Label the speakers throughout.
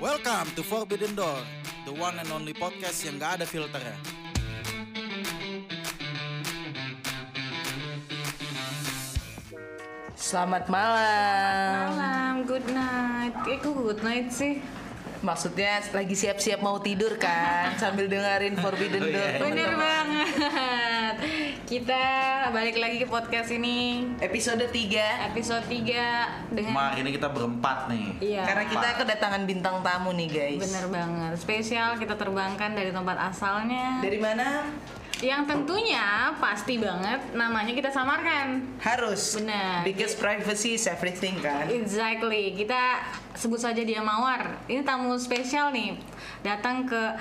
Speaker 1: Welcome to Forbidden Door, the one and only podcast yang gak ada ya. filternya.
Speaker 2: Selamat malam.
Speaker 3: Malam, good night. Eh, kok good night sih?
Speaker 2: Maksudnya lagi siap-siap mau tidur kan sambil dengerin Forbidden
Speaker 4: Oh, iya.
Speaker 2: Door.
Speaker 3: Bener
Speaker 2: teman-teman.
Speaker 3: banget. Kita balik lagi ke podcast ini.
Speaker 2: Episode 3
Speaker 3: Episode 3 dengan...
Speaker 4: Kemarin ini kita berempat nih.
Speaker 3: Iya,
Speaker 2: karena kita kedatangan bintang tamu nih, guys.
Speaker 3: bener banget. Spesial kita terbangkan dari tempat asalnya.
Speaker 2: Dari mana?
Speaker 3: Yang tentunya pasti banget namanya kita samarkan.
Speaker 2: Harus.
Speaker 3: Benar.
Speaker 2: Because privacy is everything kan.
Speaker 3: Iya. Exactly. Kita sebut saja dia Mawar. Ini tamu spesial nih. Datang ke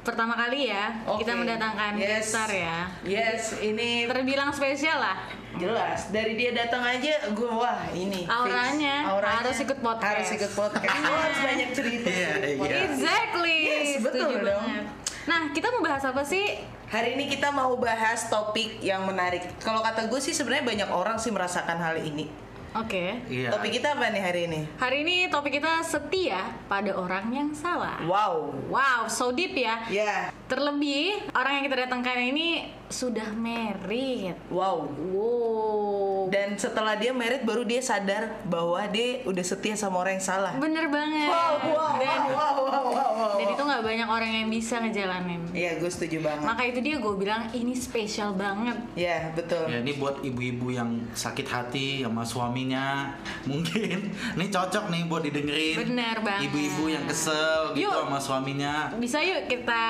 Speaker 3: pertama kali ya. Kita
Speaker 2: Oke.
Speaker 3: mendatangkan
Speaker 2: Yes.
Speaker 3: besar ya.
Speaker 2: Yes, ini
Speaker 3: Terbilang spesial lah.
Speaker 2: jelas. Dari dia datang aja gue wah ini. fix.
Speaker 3: Auranya, harus ikut podcast.
Speaker 2: Harus ikut podcast. Lo harus banyak cerita.
Speaker 4: Iya,
Speaker 2: ikut
Speaker 4: iya.
Speaker 2: podcast.
Speaker 3: Exactly.
Speaker 2: Yes, betul
Speaker 3: Setuju
Speaker 2: dong.
Speaker 3: banget. Nah, kita mau bahas apa sih?
Speaker 2: Hari ini kita mau bahas topik yang menarik. Kalau kata gue sih sebenarnya banyak orang sih merasakan hal ini.
Speaker 3: Oke.
Speaker 4: Iya.
Speaker 2: Topik kita apa nih hari ini?
Speaker 3: Hari ini topik kita setia pada orang yang salah.
Speaker 2: Wow.
Speaker 3: Wow, so deep ya.
Speaker 2: Ya.
Speaker 3: Terlebih orang yang kita datangkan ini sudah married.
Speaker 2: Wow.
Speaker 3: Wow.
Speaker 2: Dan setelah dia merit baru dia sadar bahwa dia udah setia sama orang yang salah.
Speaker 3: Bener banget.
Speaker 2: Wow, wow,
Speaker 3: dan,
Speaker 2: wow, wow, wow, wow, wow.
Speaker 3: dan itu nggak banyak orang yang bisa ngejalanin.
Speaker 2: Iya, gue setuju banget.
Speaker 3: Maka itu dia gue bilang ini spesial banget.
Speaker 2: Ya, betul.
Speaker 4: Ya, ini buat ibu-ibu yang sakit hati sama suaminya mungkin ini cocok nih buat didengerin.
Speaker 3: Bener banget.
Speaker 4: Ibu-ibu yang kesel gitu
Speaker 3: Yuk.
Speaker 4: sama suaminya.
Speaker 3: Bisa yuk kita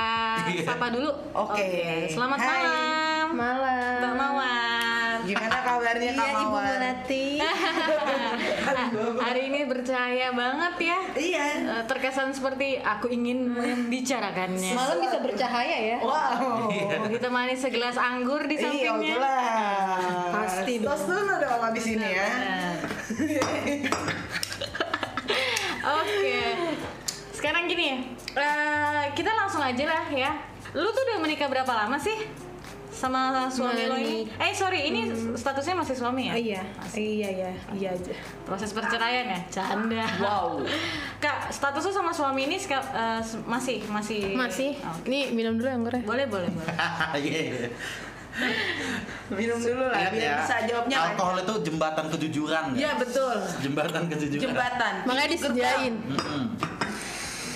Speaker 3: sapa dulu.
Speaker 2: Oke.
Speaker 3: Selamat
Speaker 2: Hai.
Speaker 3: malam.
Speaker 5: Malam.
Speaker 3: Mbak Mawar.
Speaker 2: Gimana kabarnya Kak
Speaker 5: Iya, Ibu
Speaker 2: Mawar?
Speaker 5: Melati.
Speaker 3: Ya, Hari ini percaya banget ya.
Speaker 2: Iya.
Speaker 3: Eh, Terkesan seperti aku ingin membicarakannya.
Speaker 5: Malam bisa bercahaya
Speaker 2: Iya.
Speaker 5: ya.
Speaker 2: Wow.
Speaker 3: Begitu manis segelas anggur di
Speaker 2: Iya,
Speaker 3: sampingnya.
Speaker 2: jelas.
Speaker 5: Pasti dong.
Speaker 2: Tos dulu dong abis ini ya.
Speaker 3: Oke. Sekarang gini, eh, kita langsung aja lah ya. Lu tuh udah menikah berapa lama sih? Sama suami lo ini? Eh sorry, ini
Speaker 2: Hmm.
Speaker 3: statusnya masih suami ya?
Speaker 5: Ah, iya, iya ya, iya aja.
Speaker 3: Proses perceraian ya? Canda. Wow. Kak, status lu sama suami ini seka- eh, se- masih masih
Speaker 5: Masih.
Speaker 3: Oh.
Speaker 5: Nih minum dulu ya, anggurnya.
Speaker 3: Boleh, boleh, boleh.
Speaker 4: Iya.
Speaker 2: Minum dulu lah,
Speaker 4: Ingat ya.
Speaker 2: biar bisa jawabnya kan? lancar.
Speaker 4: Alkohol itu jembatan kejujuran. kan?
Speaker 2: Iya, betul.
Speaker 4: Jembatan kejujuran.
Speaker 2: Jembatan.
Speaker 5: Makanya disediain.
Speaker 4: Mm-mm.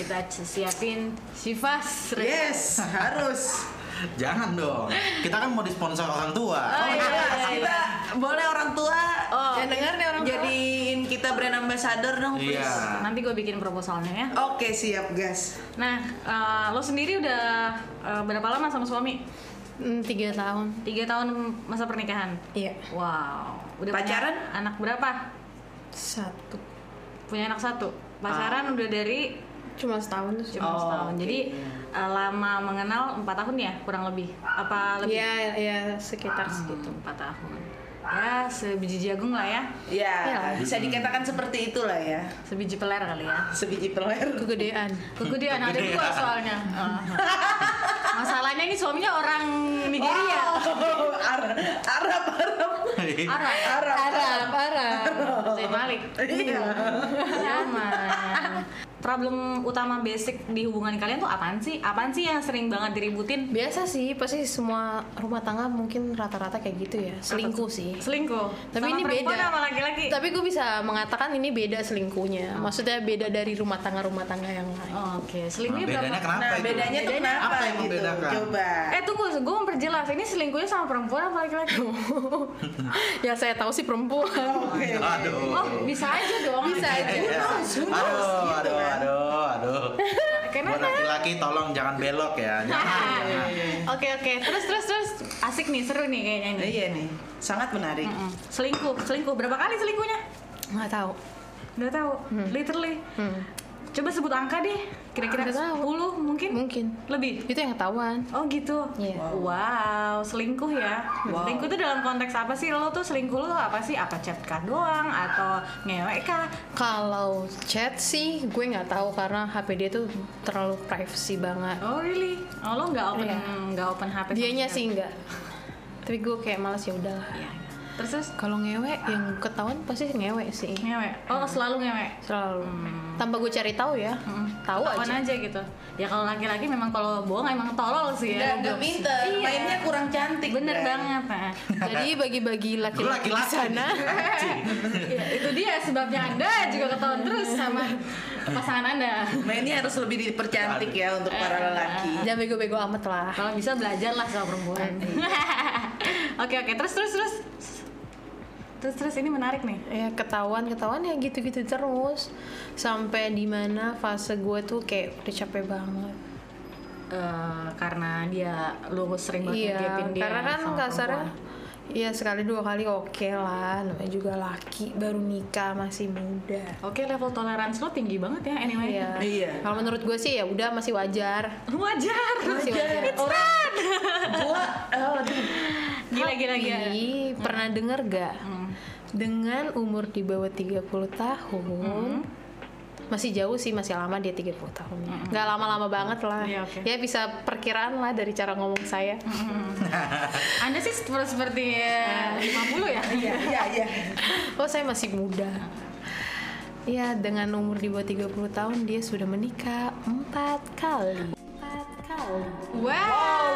Speaker 3: Kita c- siapin Sifas.
Speaker 2: Yes, harus.
Speaker 4: Jangan dong. Kita kan mau disponsor orang tua.
Speaker 3: Oh, iya, iya,
Speaker 2: Jelas,
Speaker 3: iya.
Speaker 2: kita boleh orang tua
Speaker 3: Oh,
Speaker 5: Jangan dengar nih orang
Speaker 2: jadiin kita brand ambassador dong, Oh, please.
Speaker 4: Iya.
Speaker 3: nanti gue bikin proposalnya ya.
Speaker 2: Oke, siap, guys.
Speaker 3: Nah, eh, lo sendiri udah eh, berapa lama sama suami?
Speaker 5: tua. Hmm, tiga tahun.
Speaker 3: Tiga tahun masa pernikahan.
Speaker 5: Iya.
Speaker 3: Wow. Udah punya
Speaker 2: Pacaran?
Speaker 3: anak berapa?
Speaker 5: Satu.
Speaker 3: Punya anak satu.
Speaker 2: Ah.
Speaker 3: Pacaran udah dari
Speaker 5: Cuma setahun terus.
Speaker 2: Oh,
Speaker 3: cuma setahun. Jadi eh, lama mengenal empat tahun ya kurang lebih. Apa lebih?
Speaker 5: Iya, iya sekitar segitu.
Speaker 3: gitu, Empat tahun. Ya sebiji jagung lah ya.
Speaker 2: Ya,
Speaker 5: Iya.
Speaker 2: bisa dikatakan seperti itulah ya.
Speaker 3: Sebiji peler kali ya.
Speaker 2: Sebiji peler.
Speaker 5: Kegedean.
Speaker 3: Kegedean ada dua soalnya. Oh. Masalahnya ini suaminya orang Nigeria.
Speaker 2: Oh, Arab, Arab, Arab.
Speaker 3: Arab.
Speaker 2: Arab.
Speaker 5: Parah, parah.
Speaker 3: Zain Malik.
Speaker 2: Iya.
Speaker 3: Nyaman. Problem utama basic di hubungan kalian tuh apaan sih? Apaan sih yang sering banget diributin?
Speaker 5: Biasa sih, pasti semua rumah tangga mungkin rata-rata kayak gitu ya. Selingkuh sih.
Speaker 3: Selingkuh.
Speaker 5: Tapi
Speaker 3: Sama
Speaker 5: ini
Speaker 3: perempuan
Speaker 5: beda.
Speaker 3: sama laki-laki.
Speaker 5: Tapi gue bisa mengatakan ini beda selingkuhnya. Maksudnya beda dari rumah tangga-rumah tangga yang lain.
Speaker 3: Oh, Oke, selingkuhnya
Speaker 4: Nah, bedanya
Speaker 3: berapa?
Speaker 4: kenapa
Speaker 2: Nah,
Speaker 4: itu?
Speaker 2: bedanya tuh kenapa
Speaker 4: Apa yang
Speaker 2: gitu?
Speaker 4: membedakan?
Speaker 2: Coba.
Speaker 3: Eh tunggu, gue memperjelas. Ini selingkuhnya sama perempuan apa laki-laki?
Speaker 5: ya saya tahu sih perempuan.
Speaker 2: Oke.
Speaker 4: Aduh.
Speaker 3: Oh, bisa aja dong.
Speaker 5: Bisa aja.
Speaker 4: Iya.
Speaker 2: knows, who knows,
Speaker 4: Aduh,
Speaker 2: gitu
Speaker 4: aduh,
Speaker 2: kan.
Speaker 4: aduh, aduh.
Speaker 3: Karena
Speaker 4: Buat laki-laki tolong jangan belok ya. Jangan.
Speaker 3: Oke oke, terus terus terus asik nih, seru nih kayaknya nih.
Speaker 2: Iya nih, sangat menarik.
Speaker 3: Mm. Selingkuh, selingkuh berapa kali selingkuhnya?
Speaker 5: Nggak tahu.
Speaker 3: Nggak tahu, literally.
Speaker 5: Hmm.
Speaker 3: Coba sebut angka deh, kira-kira
Speaker 5: Nggak tahu.
Speaker 3: 10 mungkin?
Speaker 5: Mungkin.
Speaker 3: Lebih?
Speaker 5: Itu yang ketahuan.
Speaker 3: Oh gitu.
Speaker 5: Iya.
Speaker 3: Wow. selingkuh ya. Selingkuh itu dalam konteks apa sih? Lo tuh selingkuh lo apa sih? Apa chat kah doang atau ngewek kah?
Speaker 5: Kalau chat sih gue nggak tahu karena HP dia tuh terlalu privacy banget.
Speaker 3: Oh really? Oh lo nggak open
Speaker 5: Iya.
Speaker 3: nggak open HP? sama
Speaker 5: Dianya
Speaker 3: sekali?
Speaker 5: sih enggak. Tapi gue kayak malas ya udah.
Speaker 3: Iya. Terus terus
Speaker 5: Kalau ngewe yang ketahuan pasti ngewe sih.
Speaker 3: ngewe. Oh, selalu ngewe.
Speaker 5: Selalu. Tanpa gue cari tahu ya. Tahu
Speaker 3: Ketahuan
Speaker 5: aja.
Speaker 3: aja gitu. Ya kalau laki-laki memang kalau bohong emang tolol
Speaker 2: Nggak,
Speaker 3: sih ya.
Speaker 2: nggak pinter,
Speaker 3: Iya.
Speaker 2: mainnya kurang cantik.
Speaker 3: Bener
Speaker 5: ya.
Speaker 2: Bray.
Speaker 3: banget. Nah.
Speaker 5: Jadi bagi-bagi
Speaker 4: Lu
Speaker 5: laki-laki Nah, di
Speaker 4: laki-laki
Speaker 5: sana.
Speaker 3: Ya, itu dia sebabnya Anda juga ketahuan terus sama pasangan Anda.
Speaker 2: Mainnya harus lebih dipercantik ya untuk para lelaki.
Speaker 5: Jangan bego-bego amat lah.
Speaker 3: Kalau bisa belajarlah sama perempuan. Oke oke, terus terus terus. Terus terus ini menarik nih.
Speaker 5: ya ketahuan ketahuan ya gitu-gitu terus sampai di mana fase gue tuh kayak udah capek banget
Speaker 3: Eh, karena dia lu sering banget
Speaker 5: iya
Speaker 3: ngegapin dia.
Speaker 5: karena kan
Speaker 3: sama
Speaker 5: kasarnya
Speaker 3: perempuan.
Speaker 5: Iya sekali dua kali oke lah namanya juga laki baru nikah masih muda
Speaker 3: Oke, level toleransi lo tinggi banget ya anyway.
Speaker 5: Iya.
Speaker 2: Iya.
Speaker 5: Kalau menurut gue sih ya udah masih wajar.
Speaker 3: Wajar.
Speaker 5: Masih wajar.
Speaker 2: Orang gua aduh,
Speaker 3: Gila gila gila. Mm.
Speaker 5: Tapi, pernah denger gak? Dengan umur di bawah 30 tahun
Speaker 3: Mm.
Speaker 5: masih jauh sih masih lama dia 30 tahun. Gak lama-lama banget lah.
Speaker 3: Iya, oke.
Speaker 5: Ya bisa perkiraan lah dari cara ngomong saya.
Speaker 3: Anda sih seperti, seperti eh, 50 ya?
Speaker 2: iya iya iya.
Speaker 5: Oh, saya masih muda. Ya, dengan umur di bawah 30 tahun dia sudah menikah empat kali. Empat kali.
Speaker 3: Wow.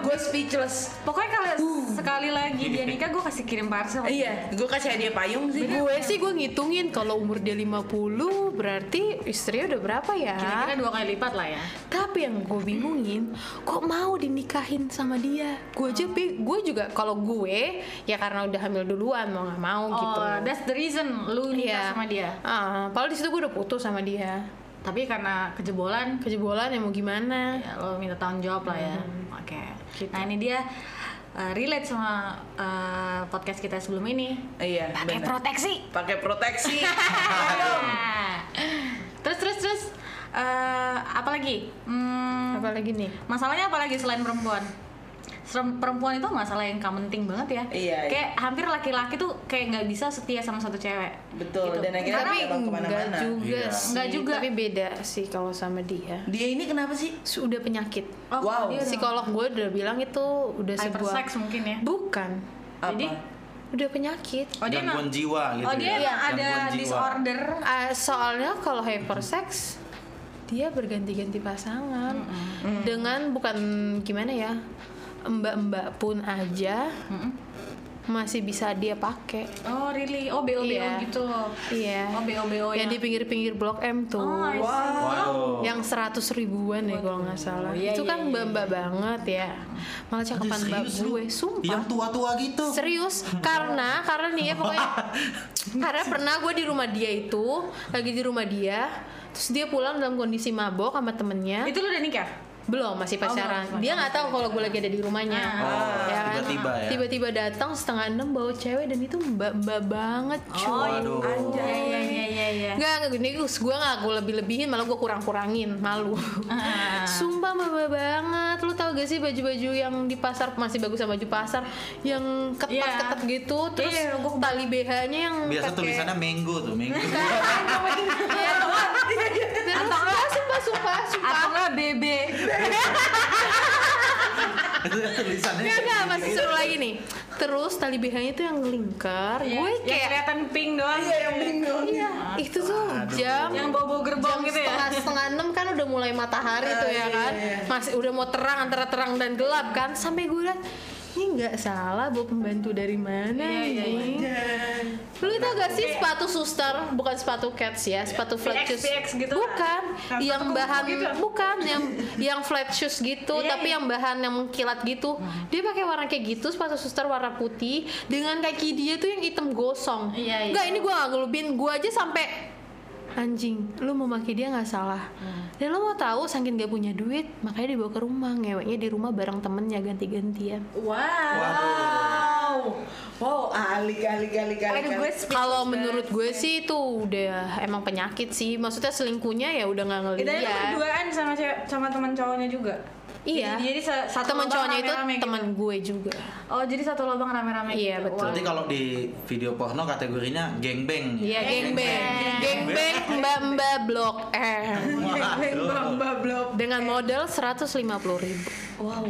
Speaker 2: Gua speechless.
Speaker 3: Pokoknya kalau sekali lagi dia nikah gue kasih kirim parcel.
Speaker 2: Iya, gua kasih hadiah payung sih.
Speaker 5: Gue
Speaker 3: kan?
Speaker 5: sih gue ngitungin kalau umur dia 50 berarti istrinya udah berapa ya?
Speaker 3: Kira-kira dua kali lipat lah ya.
Speaker 5: Tapi yang gue bingungin, kok mau dinikahin sama dia? Gue aja, bi- gue juga kalau gue ya karena udah hamil duluan mau nggak mau
Speaker 3: Oh,
Speaker 5: gitu.
Speaker 3: that's the reason lu nikah
Speaker 5: Iya.
Speaker 3: sama dia.
Speaker 5: Ah, padahal di situ gue udah putus sama dia.
Speaker 3: Tapi karena kejebolan,
Speaker 5: Kejebolan ya mau gimana?
Speaker 3: ya lo minta tanggung jawab lah ya. Oke. Nah ini dia uh, relate sama uh, podcast kita sebelum ini.
Speaker 2: Iya,
Speaker 3: Pakai
Speaker 2: bener.
Speaker 3: proteksi.
Speaker 2: Pakai proteksi.
Speaker 3: Nah. terus terus terus. eh apa lagi? Hmm,
Speaker 5: Apalagi nih?
Speaker 3: Masalahnya apa lagi selain perempuan? Serem- Perempuan itu masalah yang penting banget
Speaker 2: Iya,
Speaker 3: ya.
Speaker 2: iya.
Speaker 3: Kayak hampir laki-laki tuh kayak nggak bisa setia sama satu cewek.
Speaker 2: Betul.
Speaker 3: Gitu.
Speaker 2: Dan akhirnya nggak
Speaker 5: tapi
Speaker 2: bakal
Speaker 5: enggak
Speaker 2: kemana-mana.
Speaker 5: juga
Speaker 4: Iya.
Speaker 5: sih.
Speaker 3: Enggak juga.
Speaker 5: Tapi beda sih kalau sama dia.
Speaker 2: Dia ini kenapa sih?
Speaker 5: Sudah penyakit.
Speaker 3: Oh,
Speaker 2: Wow.
Speaker 3: dia udah-
Speaker 5: Psikolog gue udah bilang itu udah sebuah
Speaker 3: Hypersex mungkin ya.
Speaker 5: bukan.
Speaker 3: Jadi
Speaker 2: Apa?
Speaker 5: Udah penyakit.
Speaker 3: oh dia
Speaker 4: Gangguan
Speaker 3: emang
Speaker 4: jiwa gitu
Speaker 3: oh dia
Speaker 4: ya.
Speaker 3: emang ada
Speaker 4: Gangguan jiwa.
Speaker 3: disorder.
Speaker 5: Ah, soalnya kalau hypersex dia berganti-ganti pasangan
Speaker 3: Mm.
Speaker 5: dengan bukan gimana ya mbak-mbak pun aja masih bisa dia pakai.
Speaker 3: Oh really? Oh BO
Speaker 5: Iya.
Speaker 3: gitu.
Speaker 5: Iya.
Speaker 3: Oh BO
Speaker 5: yang
Speaker 3: yang
Speaker 5: di pinggir-pinggir blok M tuh.
Speaker 3: Oh, I see.
Speaker 4: Waduh.
Speaker 5: yang seratus ribuan ya kalau nggak salah
Speaker 3: iya,
Speaker 5: itu
Speaker 3: iya,
Speaker 5: kan
Speaker 3: iya.
Speaker 5: mbak mbak banget ya malah cakepan mbak
Speaker 4: Serius lu?
Speaker 5: gue
Speaker 4: Yang
Speaker 5: sumpah
Speaker 4: tua-tua gitu.
Speaker 5: serius karena karena nih ya pokoknya karena pernah gue di rumah dia itu lagi di rumah dia terus dia pulang dalam kondisi mabok sama temennya
Speaker 3: Itu lu udah nikah?
Speaker 5: belum masih
Speaker 3: belum,
Speaker 5: pacaran
Speaker 3: belum.
Speaker 5: dia nggak tahu kalau gue lagi ada di rumahnya
Speaker 4: Oh,
Speaker 5: Ya kan?
Speaker 4: tiba-tiba ya.
Speaker 5: tiba-tiba datang setengah enam bawa cewek dan itu mbak mbak banget cuy
Speaker 4: Waduh.
Speaker 3: Iya iya iya iya. iya.
Speaker 5: Enggak, enggak gini gue gak gue lebih-lebihin malah gue kurang-kurangin malu.
Speaker 3: Ah.
Speaker 5: Sumpah maba banget. Lu tau gak sih baju-baju yang di pasar masih bagus sama baju pasar yang ketat-ketat gitu terus
Speaker 3: Iya, gua
Speaker 5: tali BH-nya yang
Speaker 4: Biasa
Speaker 5: pakai-
Speaker 4: tulisannya minggu tuh, minggu.
Speaker 5: Iya, terus Nah, sumpah, sumpah, sumpah, sumpah.
Speaker 3: Atau nggak BB? Iya,
Speaker 4: tulisannya.
Speaker 5: Enggak, enggak, masih
Speaker 3: Gitu.
Speaker 5: seru lagi nih. Terus tali BH-nya tuh yang lingkar.
Speaker 3: Iya,
Speaker 5: Gue
Speaker 3: yang
Speaker 5: kayak
Speaker 3: kelihatan pink doang.
Speaker 2: Iya, yang bingung.
Speaker 5: Iya, itu tuh jam
Speaker 3: Yang bobo gerbong
Speaker 5: jam
Speaker 3: gitu ya. Eh, iya
Speaker 5: setengah setengah enam kan udah mulai matahari tuh ya kan masih udah mau terang antara terang dan gelap kan sampai gue liat ini nggak salah bawa pembantu dari mana
Speaker 3: Iya, iya,
Speaker 5: ini lu tau gak sih sepatu suster bukan sepatu cats ya sepatu flat
Speaker 3: PX,
Speaker 5: shoes
Speaker 3: PX gitu lah.
Speaker 5: bukan
Speaker 3: Yang
Speaker 5: yang
Speaker 3: sepatu
Speaker 5: bahan
Speaker 3: kupu-kupu gitu.
Speaker 5: bukan yang yang flat shoes gitu
Speaker 3: Iya,
Speaker 5: tapi
Speaker 3: iya. Hmm.
Speaker 5: yang bahan yang mengkilat gitu dia pakai warna kayak gitu sepatu suster warna putih dengan kaki dia tuh yang hitam gosong
Speaker 3: Iya, iya.
Speaker 5: Nggak, ini gue gak ngelubin gue aja sampai anjing lu mau maki dia nggak salah dan lu mau tahu saking gak punya duit makanya dibawa ke rumah ngeweknya di rumah bareng temennya ganti-gantian
Speaker 3: Wow.
Speaker 2: Wow. Wow, alik alik alik alik.
Speaker 3: Aduh, gue
Speaker 2: alik.
Speaker 3: speechless
Speaker 5: kalau
Speaker 3: banget.
Speaker 5: menurut gue sih itu udah emang penyakit sih maksudnya selingkuhnya ya udah nggak
Speaker 3: Itu
Speaker 5: ngeliat
Speaker 3: lu berduaan sama cewek- sama teman cowoknya juga.
Speaker 5: iya
Speaker 3: Jadi, jadi sa- satu
Speaker 5: temen
Speaker 3: lubang
Speaker 5: cowoknya itu
Speaker 3: rame-rame gitu.
Speaker 5: temen gue juga
Speaker 3: Oh, jadi satu lubang rame-rame
Speaker 5: Iya,
Speaker 3: gitu.
Speaker 5: betul.
Speaker 4: Berarti kalau di video porno kategorinya gengbang.
Speaker 5: Iya, gengbang, gengbang, mbak-mbak Blok M
Speaker 2: Mbak Blok.
Speaker 5: dengan modal 150.000 ribu.
Speaker 2: Wow.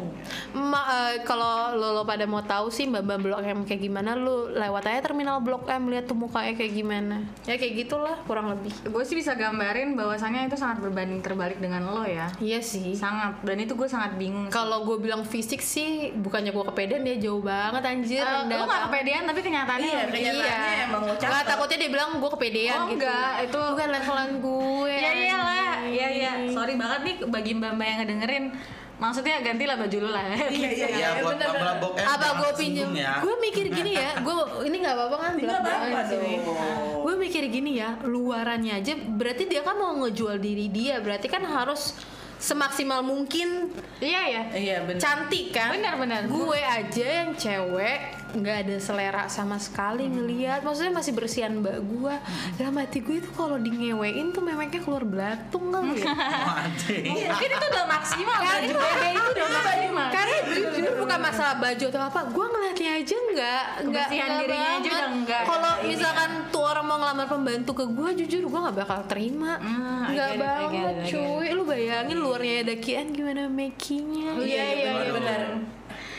Speaker 5: Ma, eh, kalau lo, lo pada mau tahu sih mbak mbak Blok M kayak gimana, lo lewat aja terminal Blok M lihat tuh mukanya kayak gimana. Ya kayak gitulah kurang lebih.
Speaker 3: Gue sih bisa gambarin bahwasannya itu sangat berbanding terbalik dengan lo ya.
Speaker 5: Iya sih.
Speaker 3: Sangat. Dan itu gue sangat bingung.
Speaker 5: Kalau gue bilang fisik sih bukannya gue kepedean dia jauh banget
Speaker 3: Eh,
Speaker 5: anjir. rendah
Speaker 3: lo
Speaker 5: banget.
Speaker 3: gak kepedean tapi kenyataannya
Speaker 2: Iya,
Speaker 3: lo-
Speaker 2: kenyataannya emang lo cakep.
Speaker 5: Nggak, takutnya dia bilang gue kepedean
Speaker 3: Oh,
Speaker 5: gitu.
Speaker 3: enggak, itu-
Speaker 5: bukan levelan gue.
Speaker 3: Ya iyalah, ya ya. Sorry banget nih bagi mbak-mbak yang ngedengerin. Maksudnya gantilah baju lu lah.
Speaker 2: Iya iya iya.
Speaker 4: Ya buat
Speaker 2: bener,
Speaker 4: Mbak Blok M
Speaker 5: Apa
Speaker 4: jangan
Speaker 5: gue
Speaker 4: tersinggung
Speaker 5: pinjem?
Speaker 4: ya.
Speaker 5: Gue mikir gini ya, gue ini nggak apa-apa kan?
Speaker 2: Nggak apa-apa
Speaker 5: belak-belakan
Speaker 2: dong.
Speaker 5: sih. Gue mikir gini ya, luarannya aja. Berarti dia kan mau ngejual diri dia. Berarti kan harus semaksimal mungkin
Speaker 3: Iya ya.
Speaker 2: Iya benar.
Speaker 5: cantik kan?
Speaker 3: Benar, benar.
Speaker 5: Gue aja yang cewek nggak ada selera sama sekali ngelihat. Maksudnya masih bersihan mbak gue. Dalam hati gue itu kalau di ngewein tuh memeknya keluar belatung kali ya.
Speaker 4: Anjing.
Speaker 3: Mungkin itu udah maksimal.
Speaker 5: Iya,
Speaker 3: Baju bebe itu udah maksimal.
Speaker 5: Karena jujur bukan masalah baju atau apa, gue ngeliatnya aja nggak nggak
Speaker 3: Kebersihan
Speaker 5: nggak
Speaker 3: dirinya aja
Speaker 5: banget.
Speaker 3: udah nggak. ya.
Speaker 5: Kalau misalkan tuh orang mau ngelamar pembantu ke gue, jujur gue nggak bakal terima.
Speaker 3: Ah, I
Speaker 5: Nggak
Speaker 3: get it, I get
Speaker 5: banget,
Speaker 3: it, I get
Speaker 5: cuy. Lu bayangin luarnya ada kian gimana makingnya?
Speaker 3: Iya iya iya
Speaker 4: Waduh.
Speaker 3: benar.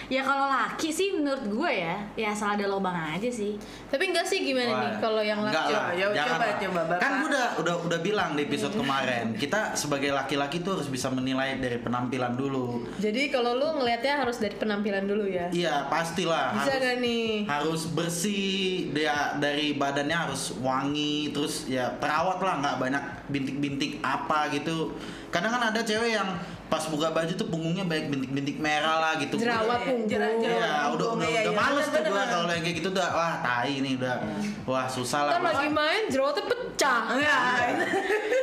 Speaker 3: Ya kalau laki sih menurut gue ya, ya asal ada lubang aja sih.
Speaker 5: Tapi enggak sih gimana
Speaker 4: Wah,
Speaker 5: nih kalau yang
Speaker 4: enggak
Speaker 5: laki?
Speaker 4: lah,
Speaker 2: Ya, ya,
Speaker 4: jangan
Speaker 2: coba,
Speaker 4: lah.
Speaker 2: coba, Bapak.
Speaker 4: kan gue udah udah udah bilang di episode kemarin kita sebagai laki-laki tuh harus bisa menilai dari penampilan dulu
Speaker 5: Jadi kalau lu ngelihatnya harus dari penampilan dulu ya.
Speaker 4: iya pastilah
Speaker 5: Bisa
Speaker 4: harus
Speaker 5: gak nih?
Speaker 4: harus bersih dia dari badannya harus wangi terus ya terawat lah nggak banyak bintik-bintik apa gitu kadang kan ada cewek yang pas buka baju tuh punggungnya banyak bintik-bintik merah lah gitu
Speaker 5: Jerawat Oh, punggung.
Speaker 4: Iya, udah udah,
Speaker 2: Iya,
Speaker 4: udah
Speaker 2: iya,
Speaker 4: males tuh
Speaker 2: bener,
Speaker 4: gua
Speaker 2: bener.
Speaker 4: kalau yang kayak gitu udah wah tai nih udah wah susah lah.
Speaker 5: Ntar lagi main jerawatnya pecah.
Speaker 2: Enggak.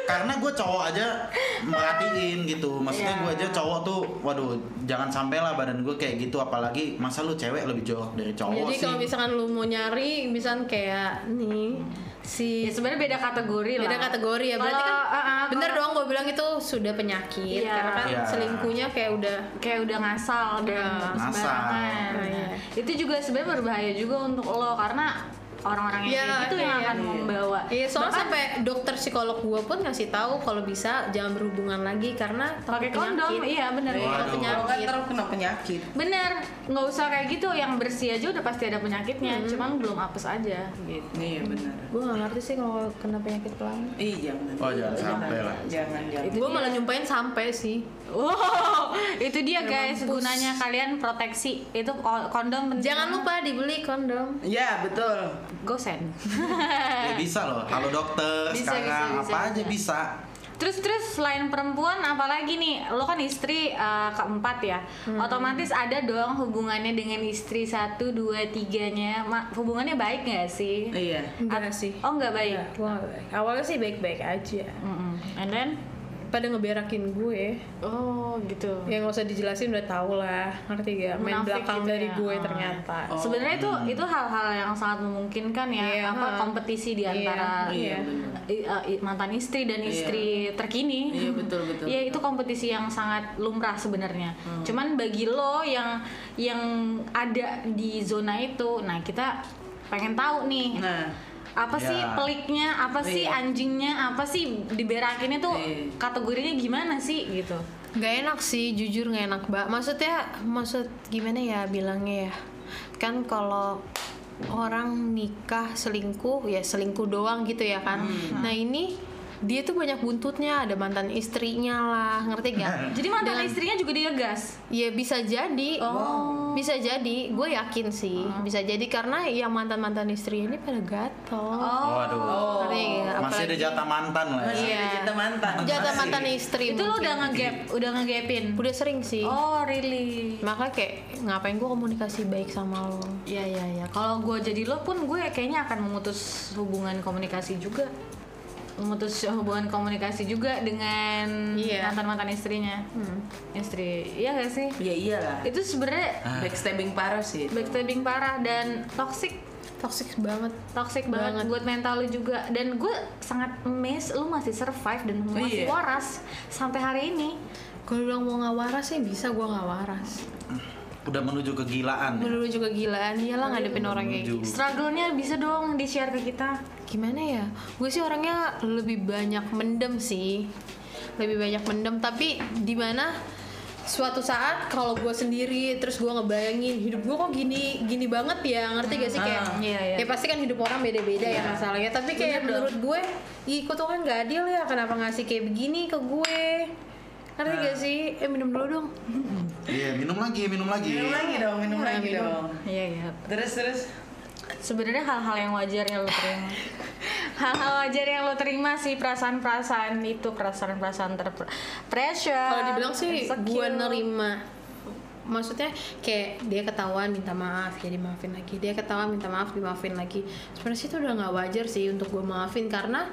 Speaker 4: Karena gue cowok aja merhatiin gitu,
Speaker 5: Iya.
Speaker 4: maksudnya gue aja cowok tuh, waduh jangan sampai lah badan gue kayak gitu, apalagi masa lu cewek lebih jorok dari cowok
Speaker 5: Jadi
Speaker 4: Oh, sih.
Speaker 5: kalau misalkan lu mau nyari, misalkan kayak nih si
Speaker 3: Ya sebenarnya beda kategori lah.
Speaker 5: beda kategori ya berarti kan
Speaker 3: Kalau, ah, ah,
Speaker 5: bener
Speaker 3: kalau
Speaker 5: dong gue bilang itu sudah penyakit
Speaker 3: Iya.
Speaker 5: karena kan
Speaker 4: Iya.
Speaker 5: selingkuhnya kayak udah
Speaker 3: Kayak udah ngasal dan
Speaker 4: Ngasal.
Speaker 3: sembarangan.
Speaker 5: Iya.
Speaker 3: Itu juga sebenarnya berbahaya juga untuk lo karena orang-orang yang
Speaker 5: Iya,
Speaker 3: kayak gitu yang
Speaker 5: iya,
Speaker 3: akan
Speaker 5: iya.
Speaker 3: membawa.
Speaker 5: Iya, soalnya
Speaker 3: Bahkan
Speaker 5: sampai dokter psikolog gue pun ngasih tahu kalau bisa jangan berhubungan lagi karena takut
Speaker 3: pakai kondom,
Speaker 5: penyakit.
Speaker 3: iya benar.
Speaker 4: Waduh.
Speaker 5: Takut
Speaker 2: Kalau kan
Speaker 5: penyakit.
Speaker 2: terus kena penyakit.
Speaker 3: Bener, nggak usah kayak gitu. Yang bersih aja udah pasti ada penyakitnya. Cuman belum hapus aja gitu.
Speaker 2: Iya benar.
Speaker 5: Gue gak ngerti sih kalau kena penyakit kelamin.
Speaker 2: Iya jangan.
Speaker 4: Oh, jangan sampai lah.
Speaker 2: Jangan jangan.
Speaker 3: Gitu
Speaker 5: Gue malah nyumpain sampai sih.
Speaker 3: Wow, itu dia guys
Speaker 5: mampus.
Speaker 3: gunanya kalian proteksi. Itu ko- kondom penting.
Speaker 5: Jangan lupa dibeli kondom.
Speaker 2: Ya betul.
Speaker 3: gosen.
Speaker 4: Ya bisa loh, halo
Speaker 5: Iya.
Speaker 4: dokter
Speaker 3: Bisa,
Speaker 4: sekarang
Speaker 3: bisa, bisa,
Speaker 4: apa aja
Speaker 3: bisa.
Speaker 4: bisa.
Speaker 3: terus terus selain perempuan apalagi nih? Lo kan istri eh, keempat ya. Otomatis ada dong hubungannya dengan istri satu dua tiganya. Ma- hubungannya baik nggak sih?
Speaker 2: Iya.
Speaker 5: Enggak
Speaker 3: At-
Speaker 5: sih.
Speaker 3: Oh nggak baik.
Speaker 5: Enggak, gua nggak baik. Awalnya sih baik-baik aja.
Speaker 3: Mm-mm. And then?
Speaker 5: Pada ngeberakin gue.
Speaker 3: Oh gitu.
Speaker 5: Ya nggak usah dijelasin udah tau lah, ngerti gak? Main
Speaker 3: Munafik
Speaker 5: belakang
Speaker 3: gitu
Speaker 5: dari
Speaker 3: ya.
Speaker 5: gue
Speaker 3: Ah.
Speaker 5: ternyata.
Speaker 2: Oh.
Speaker 3: Sebenarnya itu itu hal-hal yang sangat memungkinkan ya
Speaker 5: Iya,
Speaker 3: apa
Speaker 5: ha.
Speaker 3: kompetisi di
Speaker 5: Iya,
Speaker 3: antara
Speaker 5: iya.
Speaker 3: i- uh, i- mantan istri dan istri terkini.
Speaker 2: Iya, betul, betul, Hmm.
Speaker 3: Iya, itu kompetisi yang sangat lumrah sebenarnya. Cuman bagi lo yang yang ada di zona itu, nah kita pengen tahu nih.
Speaker 2: Nah. Ya.
Speaker 3: Apa
Speaker 4: Iya.
Speaker 3: sih peliknya, apa sih
Speaker 2: Iya.
Speaker 3: anjingnya, apa sih diberakinnya tuh
Speaker 2: Iya.
Speaker 3: kategorinya gimana sih gitu.
Speaker 5: Gak enak sih, jujur gak enak, Mbak. Maksudnya, maksud gimana ya bilangnya ya? Kan kalau orang nikah selingkuh, ya selingkuh doang gitu ya kan.
Speaker 4: Hmm.
Speaker 5: Nah ini dia tuh banyak buntutnya, ada mantan istrinya lah, ngerti gak?
Speaker 3: Jadi mantan istrinya juga digegas.
Speaker 5: Ya bisa jadi.
Speaker 4: Oh.
Speaker 5: Bisa jadi, gue yakin sih. Bisa jadi karena yang mantan-mantan istri ini pada gatel.
Speaker 4: Waduh,
Speaker 5: Ngerti nggak?
Speaker 4: Oh. masih ada
Speaker 5: Oh. Iya, Apalagi-
Speaker 4: jatah mantan lah. ya.
Speaker 2: Masih
Speaker 5: Iya.
Speaker 2: ada jatah mantan.
Speaker 5: Jatah
Speaker 4: Masih.
Speaker 5: mantan istri.
Speaker 3: Itu lo
Speaker 5: mungkin.
Speaker 3: udah ngegap, udah ngegapin.
Speaker 5: udah sering sih.
Speaker 3: Oh, really?
Speaker 5: Makanya kayak ngapain gue komunikasi baik sama lo.
Speaker 4: Iya,
Speaker 3: Ya ya ya. Kalau gue jadi lo pun gue kayaknya akan memutus hubungan komunikasi juga. Memutus hubungan komunikasi juga dengan
Speaker 5: Iya.
Speaker 3: mantan mantan istrinya. Istri, iya gak sih?
Speaker 2: Ya iyalah.
Speaker 3: Itu sebenarnya
Speaker 4: Ah.
Speaker 2: Backstabbing parah sih. itu.
Speaker 3: backstabbing parah dan toxic
Speaker 5: Toxic banget.
Speaker 3: toxic banget,
Speaker 5: Banget.
Speaker 3: buat mental lu juga dan gue sangat amazed lu masih survive dan masih
Speaker 2: Iya.
Speaker 3: waras sampai hari ini
Speaker 5: Kalau bilang mau nggak waras sih bisa gue nggak waras.
Speaker 4: Udah menuju kegilaan. ya.
Speaker 5: Dulu juga gilaan, iyalah ngadepin orang kayak
Speaker 4: Menuju.
Speaker 5: gitu.
Speaker 3: struggle-nya bisa dong di share ke kita
Speaker 5: gimana ya gue sih orangnya lebih banyak mendem sih lebih banyak mendem tapi di mana suatu saat kalau gue sendiri terus gue ngebayangin hidup gue kok gini gini banget ya ngerti gak sih kayak
Speaker 3: Ah, iya, iya.
Speaker 5: ya pasti kan hidup orang beda-beda ya masalahnya tapi kayak menurut gue ih kok tuh kan nggak adil ya kenapa ngasih kayak begini ke gue
Speaker 3: Ah.
Speaker 5: ngerti gak sih eh minum dulu dong
Speaker 4: Iya, minum lagi, minum lagi.
Speaker 2: Minum lagi dong, minum
Speaker 5: Ya,
Speaker 2: lagi
Speaker 5: minum.
Speaker 2: dong.
Speaker 3: Iya iya.
Speaker 2: Terus terus.
Speaker 3: Sebenarnya hal-hal yang wajar yang lo terima. Hal-hal wajar yang lo terima sih perasaan-perasaan itu perasaan-perasaan ter pressure.
Speaker 5: kalau dibilang sih
Speaker 3: insecure.
Speaker 5: gue nerima maksudnya kayak dia ketahuan minta maaf ya dimaafin lagi dia ketahuan minta maaf dimaafin lagi sebenarnya sih itu udah nggak wajar sih untuk gue maafin karena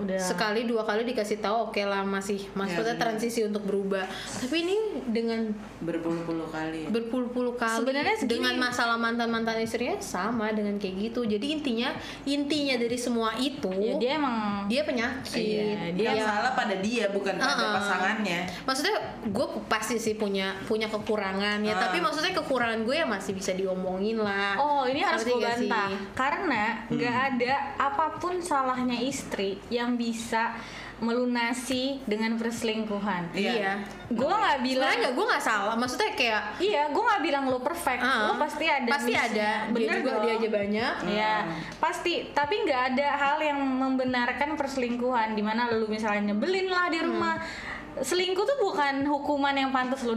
Speaker 3: Udah.
Speaker 5: sekali dua kali dikasih tahu oke lah masih
Speaker 3: Ya,
Speaker 5: maksudnya transisi untuk berubah tapi ini dengan
Speaker 2: Berpuluh-puluh kali. ya.
Speaker 5: berpuluh-puluh kali
Speaker 3: Sebenarnya segini-
Speaker 5: dengan masalah mantan mantan istrinya sama dengan kayak gitu jadi intinya intinya dari semua itu
Speaker 3: Ya, dia emang
Speaker 5: dia penyakit
Speaker 3: Iya,
Speaker 2: Dia
Speaker 5: Iya.
Speaker 2: salah pada dia bukan pada
Speaker 5: Uh-uh.
Speaker 2: pasangannya.
Speaker 5: maksudnya gue pasti sih punya punya kekurangan ya
Speaker 2: Ah.
Speaker 5: tapi maksudnya kekurangan gue ya masih bisa diomongin lah
Speaker 3: Oh ini harus
Speaker 5: Ngerti
Speaker 3: gue
Speaker 5: gak sih?
Speaker 3: bantah karena nggak ada apapun salahnya istri yang bisa melunasi dengan perselingkuhan.
Speaker 2: Iya.
Speaker 5: iya
Speaker 3: Gue nggak bilang
Speaker 5: bilang nggak gue nggak salah maksudnya kayak
Speaker 3: Iya, gue nggak bilang lo perfect.
Speaker 5: ah,
Speaker 3: Lo pasti ada.
Speaker 5: pasti
Speaker 3: miss-
Speaker 5: ada
Speaker 3: Bener
Speaker 5: dia juga
Speaker 3: dong.
Speaker 5: dia aja banyak
Speaker 2: Hmm.
Speaker 3: Iya, pasti. Tapi nggak ada hal yang membenarkan perselingkuhan. Dimana lu misalnya nyebelin lah di rumah. Selingkuh tuh bukan hukuman yang pantas lu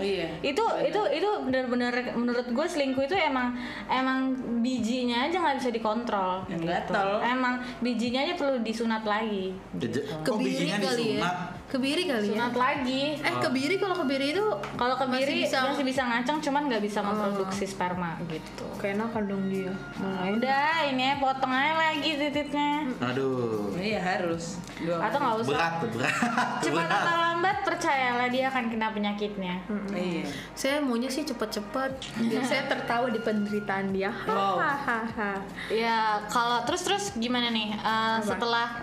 Speaker 2: Hmm. Iya.
Speaker 3: Itu itu itu benar-benar menurut gue selingkuh itu emang emang bijinya aja nggak bisa dikontrol.
Speaker 2: Yang gatel.
Speaker 3: Emang bijinya aja perlu disunat lagi.
Speaker 4: Keje- Kok
Speaker 5: kebiri
Speaker 4: bijinya
Speaker 5: kali ya
Speaker 4: disunat?
Speaker 5: kebiri
Speaker 2: Iya.
Speaker 5: kali ya
Speaker 3: Sunat lagi.
Speaker 5: eh kebiri kalau kebiri itu
Speaker 3: Kalau kebiri
Speaker 5: Masih bisa-
Speaker 3: masih bisa ngaceng, cuman nggak bisa memproduksi
Speaker 2: Oh.
Speaker 3: sperma gitu.
Speaker 5: keenakan dong dia
Speaker 2: iya.
Speaker 5: malah
Speaker 3: Udah, ini aja potong aja lagi titiknya.
Speaker 4: Aduh.
Speaker 2: Iya harus. Dua
Speaker 3: Atau nggak usah.
Speaker 4: Berat, berat.
Speaker 3: Cepat
Speaker 4: berat.
Speaker 3: atau lambat percayalah dia akan kena penyakitnya.
Speaker 2: Iya.
Speaker 5: saya maunya sih cepet-cepet biar saya tertawa di penderitaan dia
Speaker 2: Wow.
Speaker 5: hahaha
Speaker 3: Ya, kalau terus terus gimana nih? Eh, setelah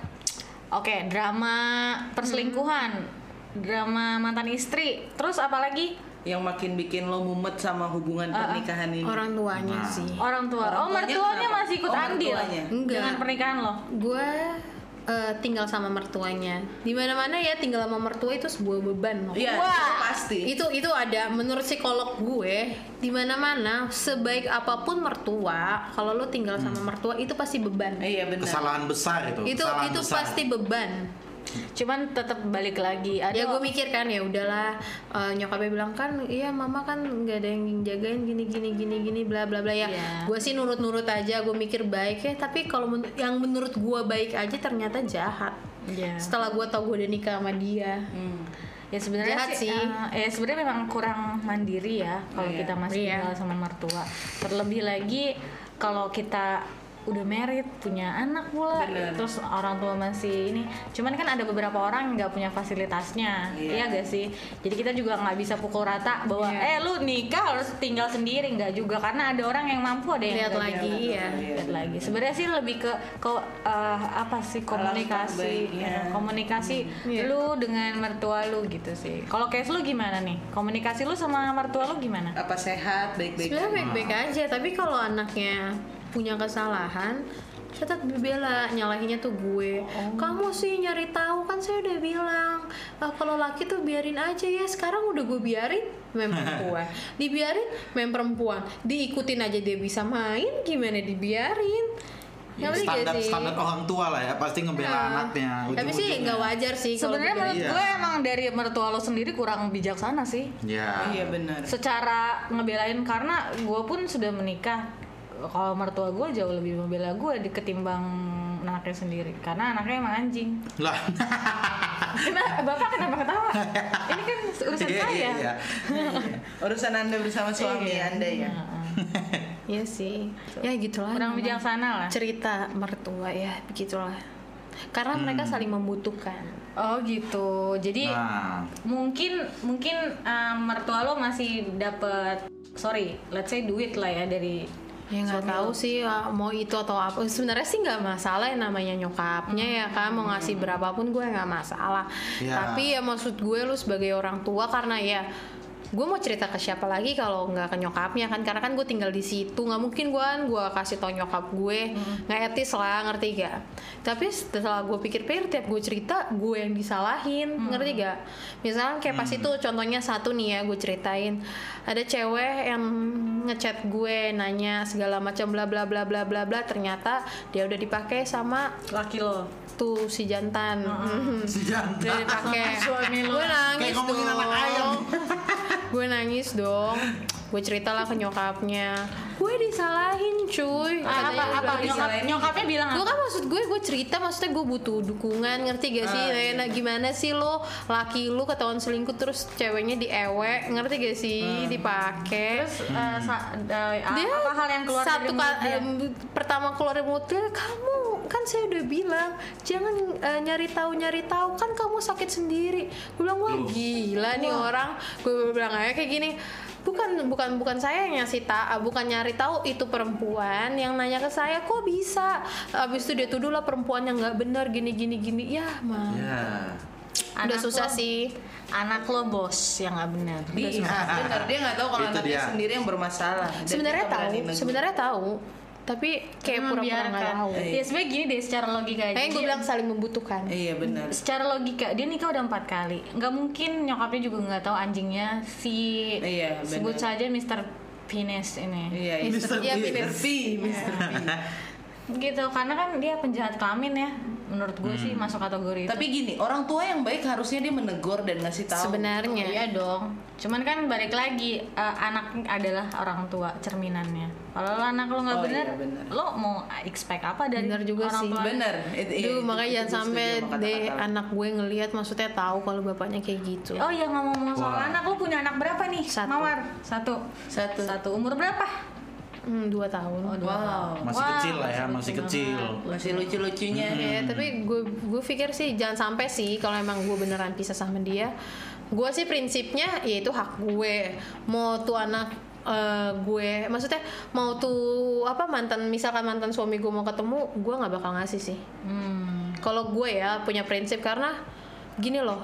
Speaker 3: oke, drama perselingkuhan,
Speaker 2: Hmm.
Speaker 3: drama mantan istri, terus apalagi
Speaker 2: Yang makin bikin lo mumet sama hubungan pernikahan ini.
Speaker 5: orang tuanya
Speaker 4: Nah.
Speaker 5: sih
Speaker 3: orang tua.
Speaker 2: Orang
Speaker 3: oh,
Speaker 2: tuanya
Speaker 3: mertuanya
Speaker 2: kenapa?
Speaker 3: masih ikut
Speaker 2: Oh,
Speaker 3: andil
Speaker 2: mertuanya.
Speaker 5: Enggak.
Speaker 3: dengan pernikahan lo.
Speaker 5: gue eh, tinggal sama mertuanya di mana mana ya tinggal sama mertua itu sebuah beban loh
Speaker 2: Iya,
Speaker 3: Wah,
Speaker 2: itu pasti.
Speaker 5: itu itu ada menurut psikolog gue di mana mana sebaik apapun mertua kalau lo tinggal sama mertua itu pasti beban
Speaker 2: Hmm. Iya benar.
Speaker 4: Kesalahan besar itu.
Speaker 5: itu
Speaker 4: kesalahan
Speaker 5: itu
Speaker 4: besar.
Speaker 5: pasti beban
Speaker 3: Cuman tetap balik lagi. Ada
Speaker 5: ya gue mikir kan ya udahlah eh, nyokapnya bilang kan iya mama kan nggak ada yang jagain gini gini gini gini bla bla bla ya
Speaker 3: Iya.
Speaker 5: gue sih nurut nurut aja gue mikir baik ya tapi kalau men- yang menurut gue baik aja ternyata jahat
Speaker 3: Iya.
Speaker 5: setelah gue tau gue udah nikah sama dia
Speaker 2: Hmm.
Speaker 3: Ya sebenarnya
Speaker 5: Jahat
Speaker 3: sih,
Speaker 5: sih.
Speaker 3: eh, ya sebenarnya memang kurang mandiri ya kalau
Speaker 2: Iya.
Speaker 3: kita masih
Speaker 5: Iya.
Speaker 3: tinggal sama mertua. Terlebih lagi kalau kita udah married, punya anak pula,
Speaker 2: Bener.
Speaker 3: terus orang tua masih ini. Cuman kan ada beberapa orang yang nggak punya fasilitasnya,
Speaker 2: Iya.
Speaker 3: iya gak sih? Jadi kita juga nggak bisa pukul rata bahwa eh
Speaker 5: Iya.
Speaker 3: lu nikah harus tinggal sendiri nggak juga karena ada orang yang mampu ada yang
Speaker 5: lihat
Speaker 3: nggak
Speaker 5: lagi
Speaker 3: bisa.
Speaker 5: ya
Speaker 3: Lihat lagi. Sebenarnya sih lebih ke ke eh, apa sih komunikasi,
Speaker 2: terbaiknya.
Speaker 3: Ya, komunikasi
Speaker 5: Iya.
Speaker 3: lu dengan mertua lu gitu sih. Kalau case lu gimana nih? Komunikasi lu sama mertua lu gimana?
Speaker 2: Apa sehat baik-baik.
Speaker 5: sebenarnya baik baik
Speaker 4: Hmm.
Speaker 5: aja tapi kalau anaknya punya kesalahan tetap dibela nyalahinnya tuh gue
Speaker 4: Oh.
Speaker 5: kamu sih nyari tahu kan saya udah bilang "Ah, kalau laki tuh biarin aja ya sekarang udah gue biarin main perempuan dibiarin main perempuan diikutin aja dia bisa main gimana dibiarin
Speaker 4: Ya,
Speaker 5: Ngerti gak
Speaker 4: standar
Speaker 5: sih?
Speaker 4: standar orang tua lah ya, pasti ngebela
Speaker 5: Nah,
Speaker 4: anaknya. gitu.
Speaker 5: tapi sih
Speaker 4: ujung-ujungnya.
Speaker 5: nggak wajar sih kalau gitu.
Speaker 3: Sebenarnya
Speaker 5: dibiarin.
Speaker 3: menurut
Speaker 4: iya.
Speaker 3: gue emang dari mertua lu sendiri kurang bijaksana sih.
Speaker 4: Ya.
Speaker 2: Iya benar.
Speaker 3: Secara ngebelain karena gue pun sudah menikah. Kalau mertua gue jauh lebih membela gue di- ketimbang anaknya sendiri karena anaknya emang anjing.
Speaker 4: Lah.
Speaker 3: Kenapa bapak kenapa ketawa? Ini kan urusan
Speaker 4: Iya,
Speaker 3: saya.
Speaker 4: iya, iya.
Speaker 2: Urusan Anda bersama suami Anda ya.
Speaker 5: Iya sih ya gitulah
Speaker 3: Kurang
Speaker 5: namanya.
Speaker 3: bijaksana lah.
Speaker 5: cerita mertua ya begitulah karena mereka saling membutuhkan
Speaker 3: Oh gitu. Jadi
Speaker 4: Nah.
Speaker 3: mungkin mungkin um, mertua lo masih dapat sorry let's say duit lah ya dari
Speaker 5: ya nggak tahu sih ah, mau itu atau apa sebenarnya sih nggak masalah yang namanya nyokapnya ya kan mau ngasih berapapun gue nggak masalah
Speaker 4: Ya.
Speaker 5: Iya, tapi ya maksud gue lu sebagai orang tua karena ya gue mau cerita ke siapa lagi kalau nggak ke nyokapnya kan karena kan gue tinggal di situ nggak mungkin gue kan gue kasih tau nyokap gue nggak etis lah ngerti gak tapi setelah gue pikir-pikir tiap gue cerita gue yang disalahin ngerti gak misalnya kayak pas itu contohnya satu nih ya gue ceritain ada cewek yang ngechat gue nanya segala macam bla bla bla bla bla bla ternyata dia udah dipakai sama
Speaker 3: Laki lo.
Speaker 5: tuh si jantan
Speaker 4: si
Speaker 5: udah
Speaker 4: jantan
Speaker 5: dipakai
Speaker 3: Suami lo.
Speaker 5: gue nangis
Speaker 4: kayak ngomongin
Speaker 5: dong
Speaker 4: anak ayam
Speaker 5: gue nangis dong gue ceritalah ke nyokapnya gue disalahin cuy
Speaker 3: Ah, apa
Speaker 5: Katanya
Speaker 3: apa
Speaker 5: udah
Speaker 3: nyokap,
Speaker 2: disalahin.
Speaker 3: nyokapnya bilang
Speaker 5: gue
Speaker 3: apa?
Speaker 5: kan maksud gue gue cerita maksudnya gue butuh dukungan ngerti gak sih Rena gimana sih lo laki lu ketahuan selingkuh terus ceweknya diewe ngerti gak sih dipakai
Speaker 3: Terus eh, sa- eh,
Speaker 5: Hmm. dia
Speaker 3: apa hal yang keluar
Speaker 5: satu
Speaker 3: dari mulut
Speaker 5: ka-
Speaker 3: dia?
Speaker 5: em, pertama keluar dari mulut dia, kamu kan saya udah bilang jangan eh, nyari tahu nyari tahu kan kamu sakit sendiri gue bilang wah gila nih orang gue bilang aja kayak gini bukan bukan bukan saya yang ngasih tahu bukan nyari tahu itu perempuan yang nanya ke saya kok bisa abis itu dia tuduh lah perempuan yang nggak benar gini gini gini ya mah
Speaker 2: Iya.
Speaker 4: ya
Speaker 5: udah
Speaker 3: Anak
Speaker 5: susah
Speaker 3: lo-
Speaker 5: sih
Speaker 3: Anak lo bos yang nggak benar.
Speaker 2: Di, bener Iya. dia nggak tahu kalau
Speaker 4: Itu
Speaker 2: anaknya
Speaker 4: dia.
Speaker 2: sendiri yang bermasalah. Dan
Speaker 5: sebenarnya
Speaker 2: kita berani
Speaker 5: tahu
Speaker 2: negur.
Speaker 5: sebenarnya tahu tapi kayak
Speaker 3: Cuma
Speaker 5: pura-pura nggak
Speaker 3: membiarkan.
Speaker 5: tahu
Speaker 3: Ya sebenarnya gini deh secara logika aja.
Speaker 5: Kayaknya gue
Speaker 3: Dia-
Speaker 5: bilang saling membutuhkan
Speaker 2: Iya benar.
Speaker 3: secara logika dia nikah udah empat kali nggak mungkin nyokapnya juga nggak tahu anjingnya si
Speaker 2: Iya,
Speaker 3: sebut
Speaker 2: benar.
Speaker 3: saja Mr. Penis ini
Speaker 2: Iya, iya.
Speaker 4: Mr.
Speaker 5: Iya,
Speaker 4: Bean.
Speaker 5: bener.
Speaker 2: Mr. P, Mr. P.
Speaker 3: gitu karena kan dia penjahat kelamin ya menurut gue sih
Speaker 2: Hmm.
Speaker 3: masuk kategori itu
Speaker 2: Tapi gini, orang tua yang baik harusnya dia menegur dan ngasih tahu.
Speaker 5: sebenarnya
Speaker 3: iya dong cuman kan balik lagi eh, anak adalah orang tua cerminannya kalau lo anak lo nggak
Speaker 2: Oh,
Speaker 3: bener,
Speaker 2: iya, bener.
Speaker 3: lo mau expect apa dari
Speaker 5: Bener juga
Speaker 3: orang
Speaker 5: sih.
Speaker 3: tua
Speaker 2: Bener. Itu- iya,
Speaker 5: Duh,
Speaker 2: itu-
Speaker 5: makanya
Speaker 2: itu
Speaker 5: jangan
Speaker 2: gue
Speaker 5: sampai
Speaker 2: setuju sama
Speaker 5: deh
Speaker 2: kata-kata.
Speaker 5: anak gue ngelihat maksudnya tahu kalau bapaknya kayak gitu.
Speaker 3: Oh iya ngomong-ngomong soal anak lo punya anak berapa nih?
Speaker 5: Satu.
Speaker 3: Mawar satu.
Speaker 2: Satu.
Speaker 3: Satu umur berapa?
Speaker 5: Hmm, dua tahun.
Speaker 3: Oh, dua
Speaker 2: Wow.
Speaker 4: masih
Speaker 3: Wah,
Speaker 4: kecil lah ya masih kecil
Speaker 2: Masih lucu-lucunya.
Speaker 5: Ya, tapi gue gue pikir sih jangan sampai sih kalau emang gue beneran pisah sama dia. Gue sih prinsipnya yaitu hak gue. Mau tuh anak eh, gue, maksudnya mau tuh apa mantan misalkan mantan suami gue mau ketemu, gue nggak bakal ngasih sih. Kalau gue ya punya prinsip karena gini loh,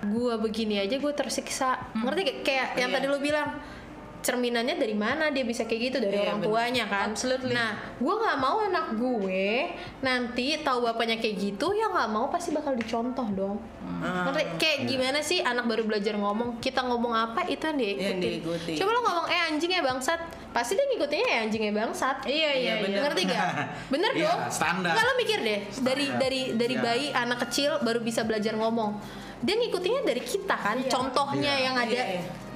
Speaker 5: gue begini aja gue tersiksa. Ngerti gak? Kayak yang tadi lo bilang cerminannya dari mana dia bisa kayak gitu dari
Speaker 2: Iya,
Speaker 5: orang
Speaker 2: bener.
Speaker 5: tuanya kan. Nah, gue nggak mau anak gue nanti tahu bapaknya kayak gitu, ya nggak mau pasti bakal dicontoh dong. Ngerti? Kayak gimana sih anak baru belajar ngomong, kita ngomong apa itu yang diikutin.
Speaker 2: Yang diikuti.
Speaker 5: Coba lo ngomong eh anjingnya bangsat, pasti dia ngikutinnya eh anjingnya bangsat.
Speaker 3: Iya iya iya.
Speaker 5: Ngerti gak? Bener
Speaker 4: Iya,
Speaker 5: dong.
Speaker 4: standar.
Speaker 5: Nggak, lo mikir deh dari
Speaker 4: Standar.
Speaker 5: dari dari
Speaker 4: Iya.
Speaker 5: bayi anak kecil baru bisa belajar ngomong. Dia ngikutinnya dari kita kan,
Speaker 3: Iya.
Speaker 5: contohnya
Speaker 4: Iya.
Speaker 5: yang ada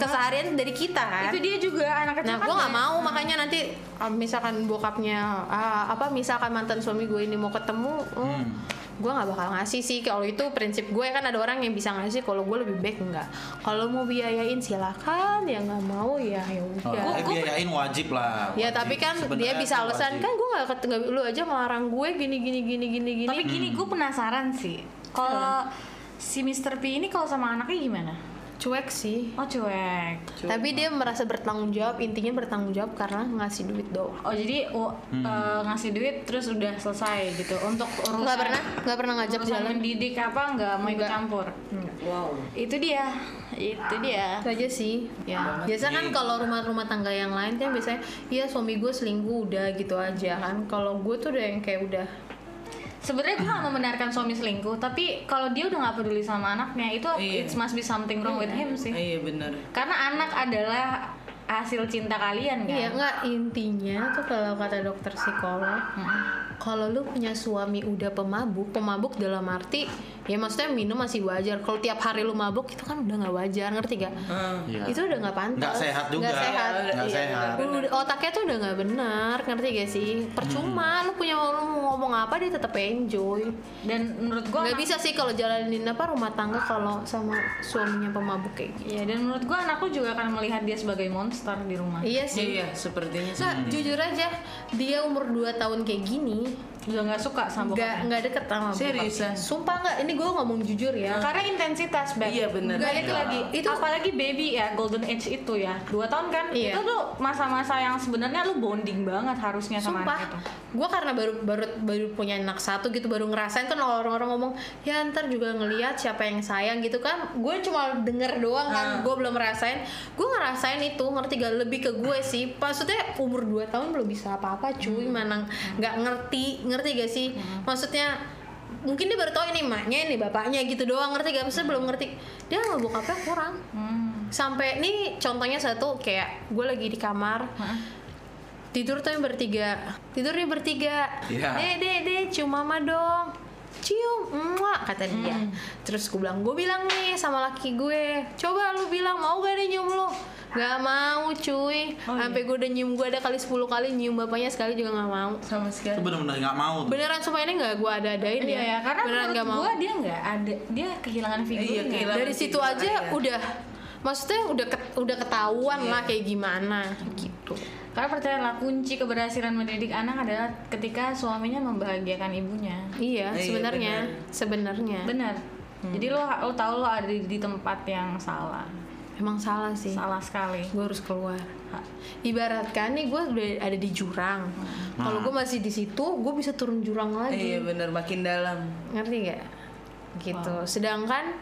Speaker 5: keseharian dari kita kan.
Speaker 3: Itu dia juga anak kecil. kan?
Speaker 5: Nah, gue nggak mau makanya nanti ah, misalkan bokapnya ah, apa misalkan mantan suami gue ini mau ketemu, oh,
Speaker 4: Hmm.
Speaker 5: gue nggak bakal ngasih sih. Kalau itu prinsip gue kan ada orang yang bisa ngasih, kalau gue lebih baik enggak. Kalau mau biayain silakan, ya nggak mau ya ya
Speaker 4: Oh,
Speaker 5: udah.
Speaker 4: eh, biayain wajib lah
Speaker 5: Ya
Speaker 4: wajib.
Speaker 5: tapi kan dia
Speaker 4: Sebenarnya
Speaker 5: bisa
Speaker 4: tuh
Speaker 5: alasan
Speaker 4: wajib.
Speaker 5: kan gue nggak ket- nggak- lu aja ngelarang gue gini gini gini gini gini.
Speaker 3: Tapi gini, gue penasaran sih. Kalau si Mr. P ini kalau sama anaknya gimana?
Speaker 5: cuek sih.
Speaker 3: Oh cuek.
Speaker 5: Tapi dia merasa bertanggung jawab, intinya bertanggung jawab karena ngasih duit doang.
Speaker 3: Oh jadi oh, eh, ngasih duit terus udah selesai gitu untuk urusan
Speaker 5: Nggak pernah, nggak pernah ngajak
Speaker 3: urusan
Speaker 5: jalan.
Speaker 3: mendidik apa nggak mau ikut
Speaker 5: Nggak.
Speaker 3: campur.
Speaker 2: Wow.
Speaker 3: Itu dia, itu dia.
Speaker 5: Itu gitu aja sih.
Speaker 3: Ya.
Speaker 5: Biasa kan kalau rumah-rumah tangga yang lain kan biasanya iya suami gue selingkuh udah gitu aja kan. Kalau gue tuh udah yang kayak udah
Speaker 3: Sebenarnya gue nggak membenarkan suami selingkuh, tapi kalau dia udah nggak peduli sama anaknya itu
Speaker 2: Iya.
Speaker 3: it must be something wrong with him sih.
Speaker 2: Iya benar.
Speaker 3: Karena anak adalah hasil cinta kalian kan.
Speaker 5: iya nggak intinya tuh kalau kata dokter psikolog
Speaker 3: Mm-mm.
Speaker 5: kalau lu punya suami udah pemabuk, pemabuk dalam arti ya maksudnya minum masih wajar. Kalau tiap hari lu mabuk itu kan udah nggak wajar, ngerti gak?
Speaker 2: Ah.
Speaker 4: Iya.
Speaker 5: Itu udah nggak pantas.
Speaker 4: Nggak sehat juga.
Speaker 5: Nggak sehat.
Speaker 4: Nggak
Speaker 2: Iya,
Speaker 4: sehat.
Speaker 2: benar.
Speaker 5: Udah- otaknya tuh udah nggak benar, ngerti gak sih? Percuma lu punya lu mau ngomong apa dia tetap enjoy.
Speaker 3: Dan menurut gue
Speaker 5: Nggak bisa sih kalau jalanin apa rumah tangga kalau sama suaminya pemabuk kayak gitu.
Speaker 3: Iya, dan menurut gua anakku juga akan melihat dia sebagai monster di rumah.
Speaker 5: Iya sih.
Speaker 2: Iya, sepertinya. sih.
Speaker 5: Nah, jujur aja, dia umur 2 tahun kayak gini,
Speaker 3: Udah nggak suka sama
Speaker 5: nggak
Speaker 3: bokapnya.
Speaker 5: nggak deket sama bokap.
Speaker 2: Seriusan?
Speaker 5: sumpah nggak ini gue ngomong jujur ya
Speaker 3: Karena intensitas, Beb.
Speaker 2: Iya, bener.
Speaker 3: Balik
Speaker 5: Iya.
Speaker 3: lagi.
Speaker 5: Itu-
Speaker 3: apalagi baby ya, golden age itu ya. Dua tahun kan?
Speaker 5: Iya.
Speaker 3: Itu tuh masa-masa yang sebenarnya lu bonding banget harusnya Iya, sama
Speaker 5: Sumpah,
Speaker 3: anak itu.
Speaker 5: gue karena baru baru baru punya anak satu gitu baru ngerasain kan orang-orang ngomong ya ntar juga ngelihat siapa yang sayang gitu kan gue cuma denger doang
Speaker 3: Ah.
Speaker 5: kan gue belum ngerasain gue ngerasain itu ngerti gak lebih ke gue sih maksudnya umur 2 tahun belum bisa apa-apa cuy
Speaker 3: Hmm.
Speaker 5: mana nggak ngerti ngerti gak sih maksudnya mungkin dia baru tahu ini emaknya ini bapaknya gitu doang ngerti gak maksudnya belum ngerti dia nggak bokapnya kurang
Speaker 3: Hmm,
Speaker 5: sampai nih contohnya satu kayak gue lagi di kamar tidur tuh yang bertiga tidur dia bertiga
Speaker 4: Iya.
Speaker 5: deh deh deh cium mama dong cium muak kata dia
Speaker 3: Hmm.
Speaker 5: terus gue bilang gue bilang nih sama laki gue coba lu bilang mau gak dia nyium lu Gak
Speaker 3: Oh,
Speaker 5: mau
Speaker 3: iya.
Speaker 5: cuy Sampai gue udah nyium Gue ada kali 10 kali Nyium bapaknya sekali juga gak mau
Speaker 2: sama
Speaker 4: itu
Speaker 2: sekali.
Speaker 4: benar-benar nggak mau tuh.
Speaker 5: Beneran sumpah ini gak gue ada-adain
Speaker 3: Iya
Speaker 5: ya
Speaker 3: ya, karena
Speaker 5: Beneran
Speaker 3: menurut
Speaker 5: gak mau Iya,
Speaker 3: gua dia nggak ada, dia kehilangan figurnya.
Speaker 2: kehilangan.
Speaker 5: Dari situ
Speaker 2: Langsung
Speaker 5: aja
Speaker 2: aja.
Speaker 5: udah Maksudnya udah ket- udah ketahuan lah Kayak gimana gitu
Speaker 3: Karena percayalah kunci keberhasilan mendidik anak adalah ketika suaminya membahagiakan ibunya.
Speaker 2: Iya,
Speaker 5: Iya sebenarnya Sebenarnya
Speaker 3: Benar.
Speaker 5: Hmm.
Speaker 3: Jadi lo lo tahu lo ada di, di tempat yang salah.
Speaker 5: Emang salah sih
Speaker 3: Salah sekali.
Speaker 5: gue harus keluar
Speaker 3: Ha.
Speaker 5: ibaratkan nih gue udah ada di jurang kalau gue masih di situ gue bisa turun jurang lagi
Speaker 2: Iya bener makin dalam.
Speaker 5: ngerti gak gitu sedangkan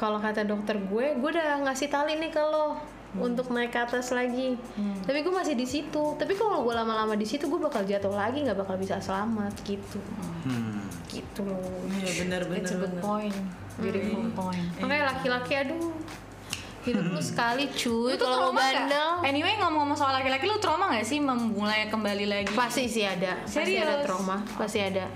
Speaker 5: kalau kata dokter gue gue udah ngasih tali nih ke lo untuk naik ke atas lagi tapi gue masih di situ tapi kalau gue lama-lama di situ gue bakal jatuh lagi nggak bakal bisa selamat gitu
Speaker 4: Hmm.
Speaker 5: gitu loh
Speaker 2: Iya bener bener.
Speaker 3: It's a good
Speaker 2: bener.
Speaker 3: point.
Speaker 5: Iya.
Speaker 3: Beautiful point.
Speaker 5: makanya laki-laki aduh hidup lu sekali
Speaker 3: Lu
Speaker 5: cuy
Speaker 3: tuh
Speaker 5: kalau mau
Speaker 3: trauma nggak?
Speaker 5: bandel
Speaker 3: Anyway ngomong-ngomong soal laki-laki, lu trauma gak sih memulai kembali lagi?
Speaker 5: pasti sih ada pasti ada
Speaker 3: Serius?
Speaker 5: trauma pasti ada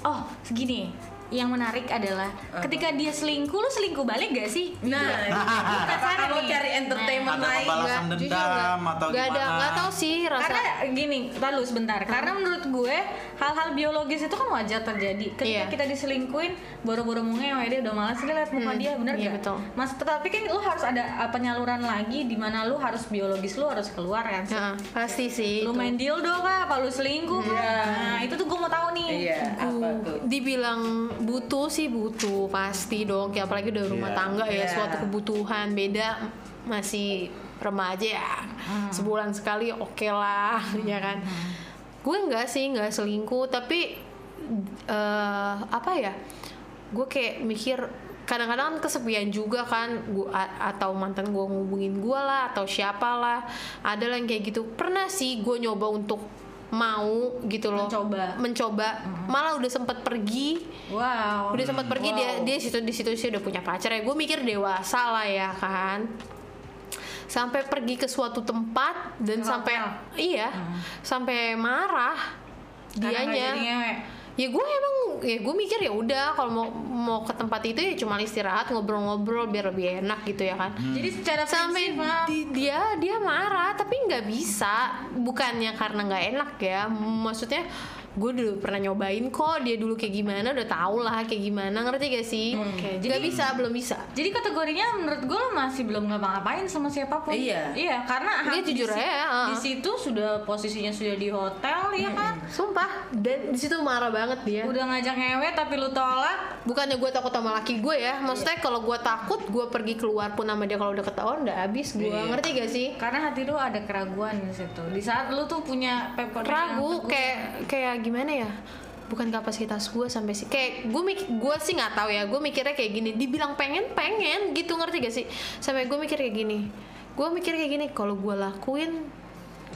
Speaker 3: Oh, segini. Yang menarik adalah ketika dia selingkuh, lu selingkuh balik gak sih?
Speaker 5: Iya,
Speaker 2: Nah,
Speaker 3: Gua penasaran
Speaker 2: kalau
Speaker 3: nih.
Speaker 2: cari entertainment
Speaker 4: Ada
Speaker 2: lain.
Speaker 4: pembalasan
Speaker 5: Nggak, jujur
Speaker 4: dendam
Speaker 5: nggak.
Speaker 4: atau
Speaker 5: Nggak ada
Speaker 4: gimana?
Speaker 5: nggak tahu sih rasa
Speaker 3: Karena gini, lalu sebentar. Karena menurut gue hal-hal biologis itu kan wajar terjadi. Ketika
Speaker 5: Iya.
Speaker 3: kita diselingkuin, boro-boro mungeo ya dia udah malas nih lihat muka
Speaker 5: Hmm,
Speaker 3: dia, bener
Speaker 5: iya,
Speaker 3: nggak?
Speaker 5: betul.
Speaker 3: Mas, tetapi kan lu harus ada uh, penyaluran lagi di mana lu harus biologis lu harus keluar kan.
Speaker 5: Heeh, pasti sih
Speaker 3: Lu
Speaker 5: itu.
Speaker 3: main dildo kah? Apa lu selingkuh kah?
Speaker 5: Iya.
Speaker 3: Nah, itu tuh gue mau tahu nih.
Speaker 2: Iya apa tuh?
Speaker 5: dibilang butuh sih butuh pasti dong ya apalagi udah rumah
Speaker 4: Iya.
Speaker 5: tangga ya
Speaker 2: Iya.
Speaker 5: suatu kebutuhan beda masih remaja ya sebulan sekali oke lah ya kan gue nggak sih nggak selingkuh tapi eh, apa ya gue kayak mikir kadang-kadang kan kesepian juga kan gua a- atau mantan gue ngubungin gue lah atau siapa lah ada lah yang kayak gitu pernah sih gue nyoba untuk mau gitu loh
Speaker 3: Mencoba.
Speaker 5: mencoba malah udah sempat pergi
Speaker 3: Wow.
Speaker 5: udah sempat pergi dia dia situ di situ sih udah punya pacar ya gue mikir dewasa lah ya kan sampai pergi ke suatu tempat dan
Speaker 3: Ke Hmm.
Speaker 5: sampai iya sampai marah
Speaker 3: Karena nggak jadi
Speaker 5: dianya
Speaker 3: ngewe.
Speaker 5: ya gue emang ya gue mikir ya udah kalau mau mau ke tempat itu ya cuma istirahat ngobrol-ngobrol biar lebih enak gitu ya kan
Speaker 3: Jadi secara
Speaker 5: sampai
Speaker 3: prinsip, maaf.
Speaker 5: di- dia dia marah tapi nggak bisa bukannya karena nggak enak ya maksudnya gue dulu pernah nyobain kok dia dulu kayak gimana udah tau lah kayak gimana ngerti gak sih
Speaker 3: Oke,
Speaker 5: Nggak
Speaker 3: jadi-
Speaker 5: bisa belum bisa
Speaker 3: Jadi kategorinya menurut gue lo masih belum ngapa-ngapain sama siapapun.
Speaker 2: Iya.
Speaker 3: Iya, karena
Speaker 5: Iya,
Speaker 3: hak di
Speaker 5: jujur
Speaker 3: si-
Speaker 5: aja, heeh.
Speaker 3: Di situ sudah posisinya sudah di hotel ya kan.
Speaker 5: sumpah dan di situ marah banget dia
Speaker 3: Udah ngajak ngewe tapi lu tolak.
Speaker 5: bukannya gue takut sama laki gue ya maksudnya kalau gue takut gue pergi keluar pun sama dia kalau udah ketahuan udah habis gue ngerti gak sih
Speaker 3: Karena hati lu ada keraguan di situ. Di saat lu tuh punya paper
Speaker 5: ragu kayak kayak gimana ya bukan kapasitas gue sampai sih kayak gue mik gue sih nggak tahu ya gue mikirnya kayak gini dibilang pengen pengen gitu ngerti gak sih sampai gue mikir kayak gini gue mikir kayak gini kalau gue lakuin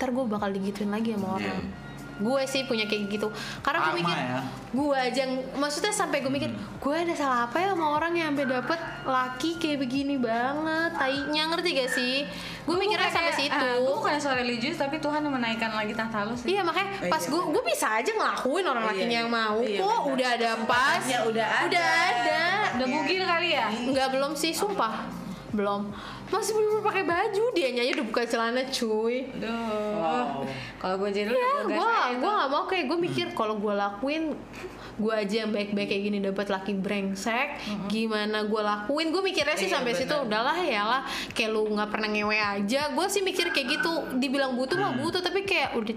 Speaker 5: ntar gue bakal digituin lagi sama orang gue sih punya kayak gitu karena gue
Speaker 4: Iya. Karma
Speaker 5: mikir
Speaker 4: ya. Hmm.
Speaker 5: gue aja ng- maksudnya sampai gue mikir gue ada salah apa ya sama orang yang sampai dapet laki kayak begini banget tainya ngerti gak sih gue mikirnya sampai situ
Speaker 3: Gue ah, bukan soal religius tapi Tuhan yang menaikkan lagi tahta lu sih.
Speaker 5: Iya makanya pas gue gue bisa aja ngelakuin orang
Speaker 2: Oh, Iya,
Speaker 5: lakinya yang
Speaker 2: iya.
Speaker 5: mau
Speaker 2: Iya,
Speaker 5: kok
Speaker 2: benar.
Speaker 5: udah ada pas
Speaker 2: Tempatnya udah ada. Iya.
Speaker 5: udah ada
Speaker 3: Udah bugil
Speaker 5: Iya.
Speaker 3: kali ya.
Speaker 5: nggak belum sih sumpah belum masih belum pakai baju dia nyanyi udah buka celana cuy
Speaker 3: Aduh.
Speaker 2: Wow.
Speaker 3: Kalau gue
Speaker 2: Iya,
Speaker 3: jadi lu
Speaker 5: ya
Speaker 3: udah gas
Speaker 5: gue
Speaker 3: aja
Speaker 5: gue
Speaker 3: tuh.
Speaker 5: nggak mau kayak gue mikir kalau gue lakuin gue aja yang baik-baik kayak gini dapat laki brengsek gimana gue lakuin gue mikirnya sih
Speaker 2: Iya,
Speaker 5: sampai situ udahlah ya lah kayak lu nggak pernah ngewe aja gue sih mikir
Speaker 2: Hmm.
Speaker 5: kayak gitu dibilang butuh mah butuh tapi kayak udah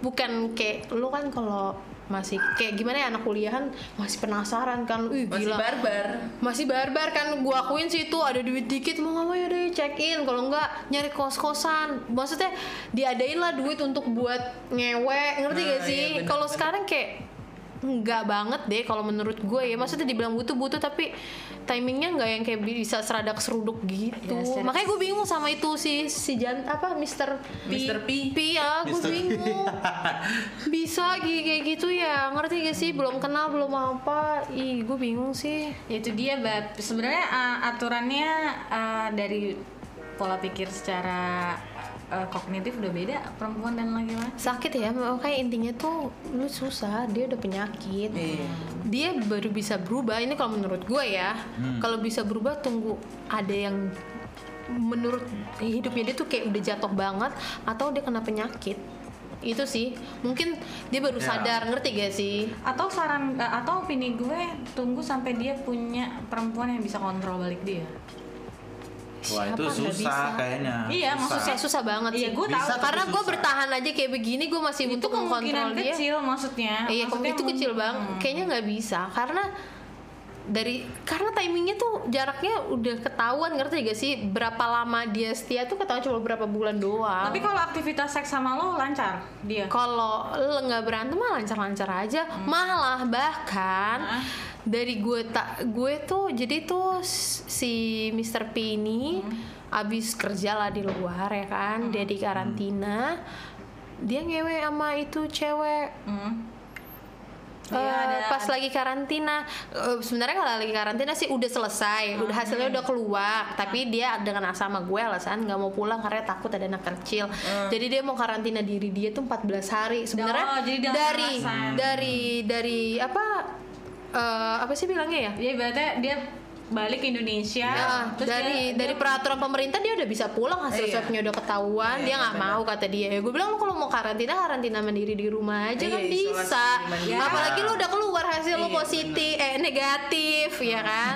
Speaker 5: bukan kayak lu kan kalau masih kayak gimana ya anak kuliahan masih penasaran kan Ih,
Speaker 2: Masih
Speaker 5: gila
Speaker 2: barbar.
Speaker 5: masih barbar kan gua akuin sih itu ada duit dikit mau ngapain ya deh check in kalau enggak nyari kos kosan maksudnya diadain lah duit untuk buat ngewek ngerti gak sih kalau sekarang kayak nggak banget deh kalau menurut gue ya maksudnya dibilang butuh butuh tapi timingnya nggak yang kayak bisa seradak seruduk gitu
Speaker 3: Ya, serak-
Speaker 5: makanya gue bingung sama itu si si Jan apa Mister
Speaker 2: Mr. P.
Speaker 5: ya gue
Speaker 4: Mr. P.
Speaker 5: bingung bisa kayak kayak gitu ya ngerti gak sih belum kenal belum apa ih gue bingung sih
Speaker 3: Ya itu dia, Bab. Sebenarnya uh, aturannya uh, dari pola pikir secara uh, kognitif udah beda perempuan dan laki-laki.
Speaker 5: sakit ya makanya intinya tuh lu susah dia udah penyakit
Speaker 3: Iya.
Speaker 5: dia baru bisa berubah ini kalau menurut gue ya
Speaker 3: Hmm.
Speaker 5: kalau bisa berubah tunggu ada yang menurut hidupnya dia tuh kayak udah jatuh banget atau dia kena penyakit itu sih mungkin dia
Speaker 3: Iya.
Speaker 5: baru
Speaker 4: Ya.
Speaker 5: sadar ngerti gak sih
Speaker 3: Atau saran uh, atau opini gue tunggu sampai dia punya perempuan yang bisa kontrol balik dia.
Speaker 4: Wah
Speaker 5: Siapa
Speaker 4: itu
Speaker 5: nggak
Speaker 4: susah
Speaker 5: bisa?
Speaker 4: kayaknya.
Speaker 3: Iya,
Speaker 4: Susah.
Speaker 3: maksud
Speaker 5: susah susah banget
Speaker 3: Iya,
Speaker 5: sih
Speaker 3: gue tahu.
Speaker 4: Bisa tapi
Speaker 5: karena gue
Speaker 4: susah.
Speaker 5: bertahan aja kayak begini gue masih
Speaker 3: itu
Speaker 5: Iya, untuk mengkontrol
Speaker 3: kemungkinan
Speaker 5: dia
Speaker 3: kecil maksudnya.
Speaker 5: Iya,
Speaker 3: Nah, Maksudnya Hmm.
Speaker 5: itu
Speaker 3: mung-
Speaker 5: kecil banget. Kayaknya nggak bisa karena dari karena timingnya tuh jaraknya udah ketahuan ngerti gak sih berapa lama dia setia tuh ketahuan cuma berapa bulan doang.
Speaker 3: Hmm. Tapi kalau aktivitas seks sama lo lancar dia.
Speaker 5: kalau lo nggak berantem mah lancar-lancar aja, malah bahkan
Speaker 3: Hmm. Hah?
Speaker 5: dari gue tak gue tuh jadi tuh s- si Mr. P ini
Speaker 3: Hmm.
Speaker 5: abis kerja lah di luar ya kan, dia di karantina, dia ngewe sama itu cewek
Speaker 3: Hmm.
Speaker 5: Eh,
Speaker 3: Iya, ada-
Speaker 5: pas lagi karantina Eh, sebenarnya kalau lagi karantina sih udah selesai udah
Speaker 3: Ah.
Speaker 5: hasilnya udah keluar tapi dia dengan asal sama gue alasan nggak mau pulang karena takut ada anak kecil jadi dia mau karantina diri dia tuh 14 hari sebenarnya
Speaker 3: Ah. Oh, jadi dia
Speaker 5: dari
Speaker 3: alasan.
Speaker 5: dari dari apa eh, apa sih bilangnya ya
Speaker 3: Iya berarti dia balik ke Indonesia.
Speaker 5: Ah,
Speaker 3: Iya. terus
Speaker 5: dari
Speaker 3: dia-
Speaker 5: dari
Speaker 3: dia-
Speaker 5: peraturan pemerintah dia udah bisa pulang hasil
Speaker 2: Iya.
Speaker 5: swabnya udah ketahuan dia nggak mau kata dia ya gue bilang lu kalau mau karantina karantina mandiri di rumah aja
Speaker 2: Iya,
Speaker 5: kan
Speaker 2: isolasi
Speaker 5: bisa
Speaker 2: mandiri.
Speaker 5: apalagi lu udah keluar hasil lu
Speaker 2: Iya,
Speaker 5: positif eh negatif ya kan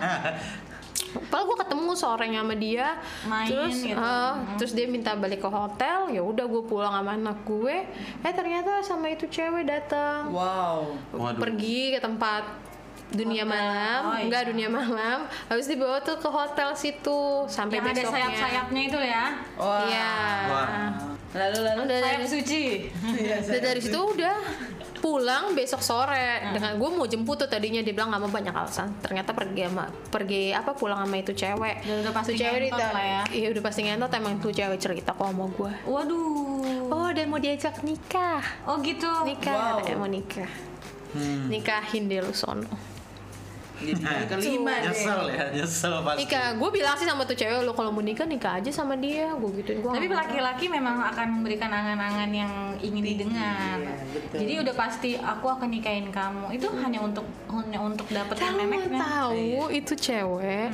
Speaker 5: Padahal gue ketemu sore sama dia,
Speaker 3: Main
Speaker 5: terus
Speaker 3: gitu.
Speaker 5: eh, terus dia minta balik ke hotel, ya udah gue pulang sama anak gue, eh ternyata sama itu cewek datang,
Speaker 2: Wow.
Speaker 4: Waduh.
Speaker 5: pergi ke tempat dunia
Speaker 3: Hotel.
Speaker 5: malam,
Speaker 3: Oh, iya.
Speaker 5: enggak dunia malam, habis dibawa tuh ke hotel situ sampai
Speaker 3: yang ada
Speaker 5: besoknya.
Speaker 3: sayap-sayapnya itu ya.
Speaker 2: Wah.
Speaker 5: Iya.
Speaker 4: Wah.
Speaker 2: Lalu lalu.
Speaker 5: Udah
Speaker 3: Sayap
Speaker 5: dari,
Speaker 3: suci.
Speaker 5: udah dari situ udah pulang besok sore
Speaker 3: Hmm.
Speaker 5: dengan gue mau jemput tuh tadinya dia bilang nggak mau banyak alasan ternyata pergi sama pergi apa pulang sama itu cewek
Speaker 3: Dan udah pasti
Speaker 5: Tuh cewek
Speaker 3: ngentot
Speaker 5: dita-
Speaker 3: lah ya.
Speaker 5: iya udah pasti ngentot emang tuh cewek cerita kok sama gue
Speaker 3: Waduh.
Speaker 5: oh dan mau diajak nikah
Speaker 3: Oh gitu.
Speaker 5: nikah
Speaker 2: Wow.
Speaker 5: katanya mau nikah nikahin deh lu sono
Speaker 2: Jadi kali kelima deh.
Speaker 4: nyesel ya, nyesel pasti.
Speaker 5: nikah gue bilang sih sama tuh cewek lo kalau mau nikah nikah aja sama dia gue gituin gue
Speaker 3: Tapi laki-laki memang akan memberikan angan-angan yang ingin didengar.
Speaker 2: Iya, betul.
Speaker 3: Jadi udah pasti aku akan nikahin kamu. Itu hanya untuk hanya untuk dapetin kan?
Speaker 5: Kalau mau
Speaker 3: memeknya. Iya.
Speaker 5: tahu itu cewek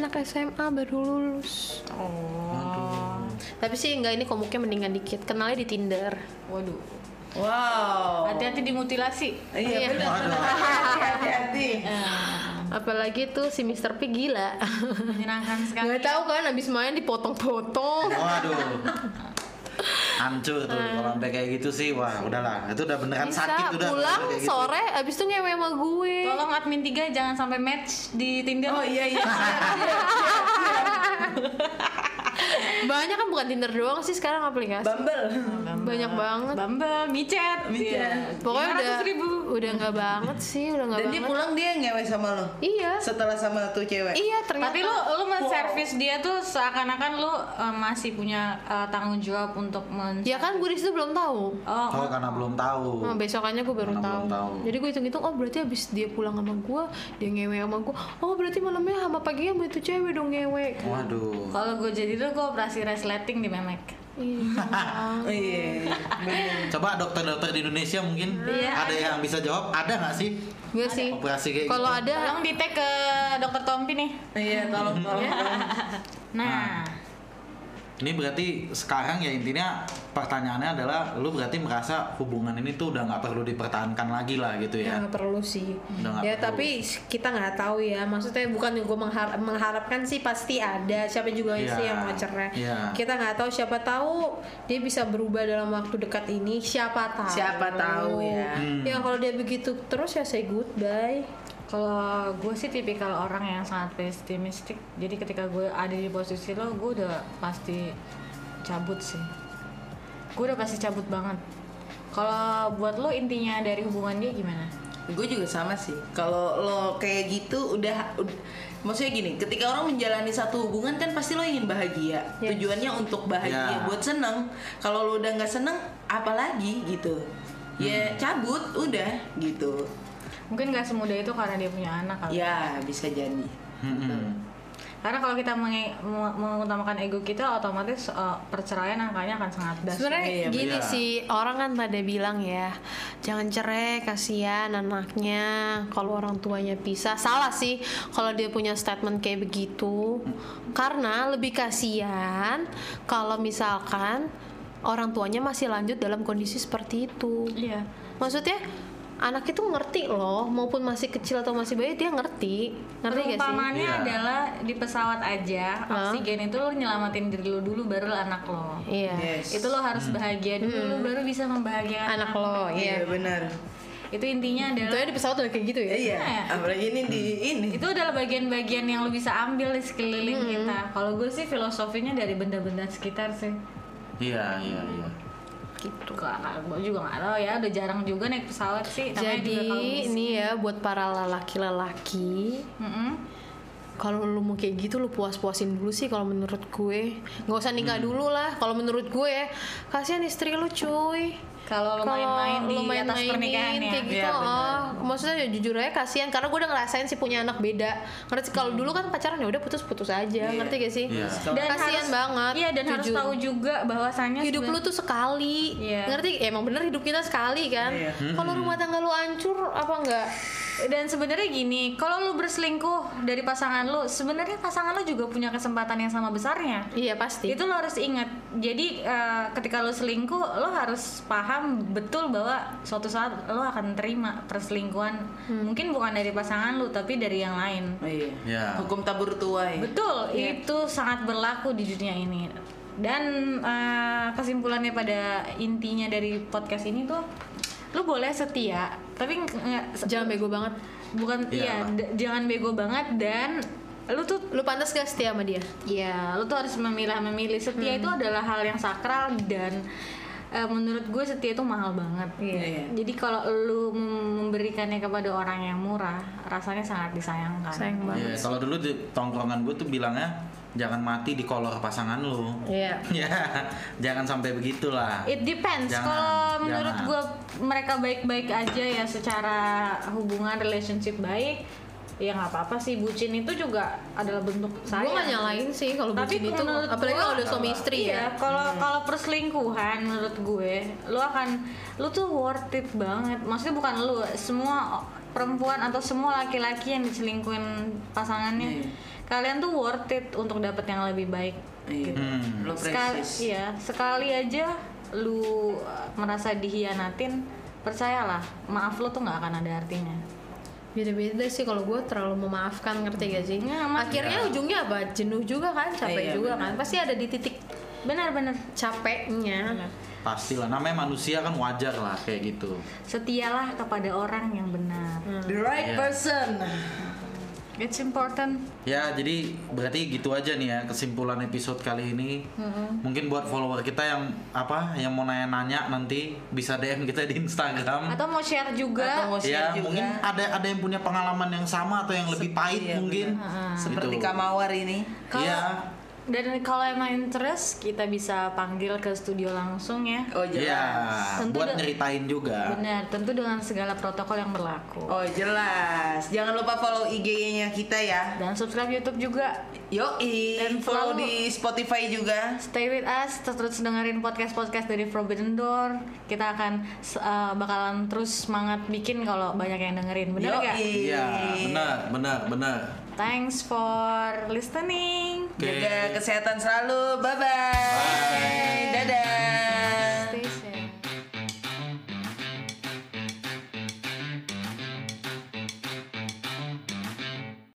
Speaker 5: anak SMA baru lulus.
Speaker 3: Oh.
Speaker 5: Tapi sih enggak ini komuknya mendingan dikit. Kenalnya di Tinder.
Speaker 3: Waduh.
Speaker 2: Wow.
Speaker 3: Hati-hati dimutilasi.
Speaker 2: Iya
Speaker 5: Iya.
Speaker 2: benar.
Speaker 4: Waduh.
Speaker 2: Hati-hati.
Speaker 5: Apalagi tuh si Mr. P gila.
Speaker 3: Menyenangkan sekali.
Speaker 5: Gak tahu kan abis main
Speaker 3: Iya.
Speaker 5: dipotong-potong.
Speaker 4: Waduh. Hancur tuh kalau sampai kayak gitu sih. Wah, udahlah. Itu udah beneran Kan sakit
Speaker 5: Bisa
Speaker 4: udah.
Speaker 5: pulang
Speaker 4: Kayak gitu.
Speaker 5: sore abis tuh ngewe sama gue.
Speaker 3: Tolong admin 3 jangan sampai match di Tinder.
Speaker 2: Oh iya iya.
Speaker 5: Banyak kan bukan Tinder doang sih sekarang aplikasi.
Speaker 2: Bumble.
Speaker 5: Banyak banget.
Speaker 3: Bumble, micet, Iya.
Speaker 2: Micet.
Speaker 5: Pokoknya udah
Speaker 3: ribu.
Speaker 5: udah nggak banget sih, udah nggak
Speaker 2: Dan
Speaker 5: banget.
Speaker 2: dia pulang dia ngewe sama lo.
Speaker 5: Iya.
Speaker 2: Setelah sama tuh cewek.
Speaker 5: Iya ternyata.
Speaker 3: Tapi lu lu menservis dia tuh seakan-akan lu eh, masih punya eh, tanggung jawab untuk men
Speaker 2: Iya.
Speaker 5: Ya kan gue di situ belum tahu.
Speaker 3: Oh,
Speaker 4: Oh, karena belum tahu.
Speaker 5: Nah, besokannya gue baru
Speaker 4: Karena
Speaker 5: tahu.
Speaker 4: belum tahu.
Speaker 5: Jadi gue hitung-hitung, oh berarti abis dia pulang sama gue, dia ngewe sama gue. Oh berarti malamnya sama paginya sama itu cewek dong ngewe.
Speaker 4: Waduh.
Speaker 3: Kalau gue jadi tuh gue operasi resleting di memek.
Speaker 5: Iya.
Speaker 2: Iya. bener.
Speaker 4: Coba dokter-dokter di Indonesia mungkin
Speaker 5: Iya,
Speaker 4: ada yang bisa jawab. Ada nggak sih
Speaker 3: Iya
Speaker 5: gue sih.
Speaker 4: operasi kayak
Speaker 5: Kalau
Speaker 4: gitu?
Speaker 5: ada,
Speaker 3: Tolong di tag ke dokter Tompi nih.
Speaker 5: Iya.
Speaker 2: Iya tolong tolong. tolong.
Speaker 3: Nah,
Speaker 4: Ini berarti sekarang ya intinya pertanyaannya adalah lu berarti merasa hubungan ini tuh udah nggak perlu dipertahankan lagi lah gitu
Speaker 5: Ya,
Speaker 4: ya.
Speaker 5: nggak perlu sih.
Speaker 4: Udah nggak
Speaker 5: ya
Speaker 4: perlu.
Speaker 5: tapi kita nggak tahu ya. Maksudnya bukan gue menghar- mengharapkan sih pasti ada. Siapa juga
Speaker 4: Iya.
Speaker 5: sih yang mau cerai.
Speaker 4: Iya.
Speaker 5: Kita nggak tahu. Siapa tahu dia bisa berubah dalam waktu dekat ini. Siapa tahu.
Speaker 2: Siapa tahu ya.
Speaker 4: Hmm.
Speaker 5: Ya kalau dia begitu terus ya say goodbye.
Speaker 3: Kalau gue sih tipikal orang yang sangat pesimistik. Jadi ketika gue ada di posisi lo, gue udah pasti cabut sih. Gue udah pasti cabut banget. Kalau buat lo intinya dari hubungan dia gimana?
Speaker 2: Gue juga sama sih. Kalau lo kayak gitu udah, ud- maksudnya gini, ketika orang menjalani satu hubungan kan pasti lo ingin bahagia.
Speaker 5: Yes.
Speaker 2: Tujuannya untuk
Speaker 4: Ya.
Speaker 2: bahagia, buat seneng. Kalau lo udah nggak seneng, apalagi gitu. Ya cabut udah gitu.
Speaker 3: Mungkin gak semudah itu karena dia punya anak kali.
Speaker 2: Ya bisa jadi.
Speaker 5: Iya.
Speaker 4: Mm-mm.
Speaker 3: Karena kalau kita menge- me- mengutamakan ego kita, otomatis eh, perceraian angkanya akan sangat dasar.
Speaker 5: Sebenarnya
Speaker 2: Iya,
Speaker 5: gini
Speaker 4: iya.
Speaker 5: sih orang kan pada bilang ya jangan cerai kasihan anaknya kalau orang tuanya pisah salah sih kalau dia punya statement kayak begitu karena lebih kasihan kalau misalkan orang tuanya masih lanjut dalam kondisi seperti itu
Speaker 3: Iya.
Speaker 5: maksudnya anak itu ngerti loh maupun masih kecil atau masih bayi dia ngerti ngerti gak sih
Speaker 3: Perumpamannya
Speaker 4: Iya.
Speaker 3: adalah di pesawat aja,
Speaker 5: Hah?
Speaker 3: oksigen itu lo nyelamatin diri lo dulu, baru lo anak lo.
Speaker 5: iya
Speaker 2: Yes.
Speaker 3: itu lo harus bahagia dulu lo baru bisa membahagiakan
Speaker 5: Hmm. anak lo
Speaker 2: Iya
Speaker 5: iya
Speaker 2: benar.
Speaker 3: itu intinya
Speaker 5: itu
Speaker 3: adalah
Speaker 5: di pesawat udah kayak gitu ya
Speaker 2: Iya. Apalagi ini di ini.
Speaker 3: itu adalah bagian-bagian yang lo bisa ambil di sekeliling
Speaker 5: Hmm.
Speaker 3: kita kalau gue sih filosofinya dari benda-benda sekitar sih
Speaker 4: Iya iya iya.
Speaker 3: gitu gue juga nggak tahu ya udah jarang juga naik pesawat sih namanya
Speaker 5: Jadi
Speaker 3: juga kalau bisa.
Speaker 5: ini ya buat para lelaki-lelaki
Speaker 3: Mm-mm.
Speaker 5: kalau lu mau kayak gitu lu puas-puasin dulu sih kalau menurut gue nggak usah nikah
Speaker 3: Hmm.
Speaker 5: dulu lah kalau menurut gue ya kasihan istri lu cuy
Speaker 3: kalau lo
Speaker 5: Kalau
Speaker 3: main-main di
Speaker 5: lu
Speaker 3: atas
Speaker 5: main-mainin
Speaker 3: pernikahan ya
Speaker 5: kayak gitu
Speaker 2: Iya, benar.
Speaker 5: oh. maksudnya ya jujur aja kasihan karena gue udah ngerasain sih punya anak beda ngerti
Speaker 3: Hmm.
Speaker 5: kalau dulu kan pacaran ya udah putus-putus aja ngerti gak sih
Speaker 4: Iya.
Speaker 5: kasihan banget
Speaker 3: iya dan harus
Speaker 5: jujur.
Speaker 3: tahu juga bahwasannya
Speaker 5: hidup
Speaker 3: seben-
Speaker 5: lu tuh sekali
Speaker 3: Iya.
Speaker 5: ngerti emang bener hidup kita sekali kan kalau rumah tangga lu hancur apa enggak
Speaker 3: Dan sebenarnya gini, kalau lu berselingkuh dari pasangan lu, sebenarnya pasangan lu juga punya kesempatan yang sama besarnya.
Speaker 5: iya pasti
Speaker 3: Itu lo harus ingat. Jadi eh, ketika lo selingkuh, lo harus paham betul bahwa suatu saat lo akan terima perselingkuhan. Mungkin bukan dari pasangan lu, tapi dari yang lain.
Speaker 2: Oh, iya.
Speaker 4: Iya.
Speaker 2: Hukum tabur ya. tuai.
Speaker 3: Betul, itu sangat berlaku di dunia ini. Dan eh, kesimpulannya pada intinya dari podcast ini tuh, lo boleh setia, tapi nggak
Speaker 5: jangan bego banget
Speaker 3: bukan iya
Speaker 4: Iya.
Speaker 3: d- jangan bego banget dan lu tuh
Speaker 5: lu pantas gak setia sama dia
Speaker 3: ya lu tuh harus memilah memilih setia
Speaker 4: Hmm.
Speaker 3: itu adalah hal yang sakral dan eh, menurut gue setia itu mahal banget
Speaker 2: Iya.
Speaker 3: jadi kalau lu mem- memberikannya kepada orang yang murah rasanya sangat disayangkan
Speaker 5: sayang banget
Speaker 4: Iya, kalau dulu di tongkrongan gue tuh bilangnya jangan mati di kolor pasangan lu.
Speaker 5: iya
Speaker 4: Ya, jangan sampai begitulah.
Speaker 3: It depends.
Speaker 4: Jangan,
Speaker 3: Kalau menurut
Speaker 4: jangan.
Speaker 3: gue mereka baik-baik aja ya secara hubungan relationship baik, ya nggak apa-apa sih. Bucin itu juga adalah bentuk sayang.
Speaker 5: gue gak nyalain sih kalau
Speaker 3: Tapi
Speaker 5: bucin itu
Speaker 3: menurut
Speaker 5: apalagi
Speaker 3: gua-
Speaker 5: kalau udah suami istri
Speaker 3: iya,
Speaker 5: ya
Speaker 3: kalau
Speaker 2: Hmm.
Speaker 3: kalau perselingkuhan menurut gue, lu akan lu tuh worth it banget. Maksudnya bukan lu, semua o- perempuan atau semua laki-laki yang diselingkuhin pasangannya,
Speaker 2: Iya.
Speaker 3: kalian tuh worth it untuk dapet yang lebih baik.
Speaker 2: Iya.
Speaker 4: Hmm.
Speaker 2: Lo
Speaker 3: Sekali,
Speaker 2: precious.
Speaker 3: iya, sekali aja lu uh, merasa dihianatin, percayalah, maaf lu tuh nggak akan ada artinya.
Speaker 5: beda-beda sih kalau gue terlalu memaafkan ngerti gak sih
Speaker 3: Iya, mas.
Speaker 5: akhirnya ujungnya apa jenuh juga kan capek
Speaker 2: Iya,
Speaker 5: juga
Speaker 2: benar.
Speaker 5: kan pasti ada di titik
Speaker 3: Benar-benar
Speaker 5: capeknya
Speaker 4: Pastilah namanya manusia kan wajar lah kayak gitu.
Speaker 3: setialah kepada orang yang benar.
Speaker 2: The right
Speaker 4: Iya.
Speaker 2: person.
Speaker 3: It's important.
Speaker 4: Ya, jadi berarti gitu aja nih ya kesimpulan episode kali ini. Mungkin buat follower kita yang apa yang mau nanya-nanya nanti bisa DM kita di Instagram.
Speaker 3: Atau mau share juga.
Speaker 2: Hmm. Atau mau share
Speaker 4: ya,
Speaker 2: juga. Ah,
Speaker 4: mungkin ada ada yang punya pengalaman yang sama atau yang lebih pahit
Speaker 2: iya,
Speaker 4: mungkin. Gitu.
Speaker 2: Seperti Kamawar ini.
Speaker 3: Kalau-
Speaker 4: Iya.
Speaker 3: Dan kalau emang interest, kita bisa panggil ke studio langsung ya.
Speaker 2: Oh
Speaker 4: Iya,
Speaker 2: jelas.
Speaker 3: Tentu
Speaker 4: buat
Speaker 3: de-
Speaker 4: nyeritain juga.
Speaker 3: Benar, tentu dengan segala protokol yang berlaku.
Speaker 2: Oh jelas. Jangan lupa follow IG-nya kita ya.
Speaker 3: Dan subscribe YouTube juga.
Speaker 2: Yoi,
Speaker 3: Dan
Speaker 2: follow
Speaker 3: selalu-
Speaker 2: di Spotify juga.
Speaker 3: Stay with us, terus dengerin podcast-podcast dari Forbidden Door. Kita akan eh, bakalan terus semangat bikin kalau banyak yang dengerin. Benar nggak?
Speaker 4: Iya, benar, benar, benar.
Speaker 3: Thanks for listening.
Speaker 4: Oke.
Speaker 2: Jaga Jaga kesehatan selalu. Bye-bye. Dadah.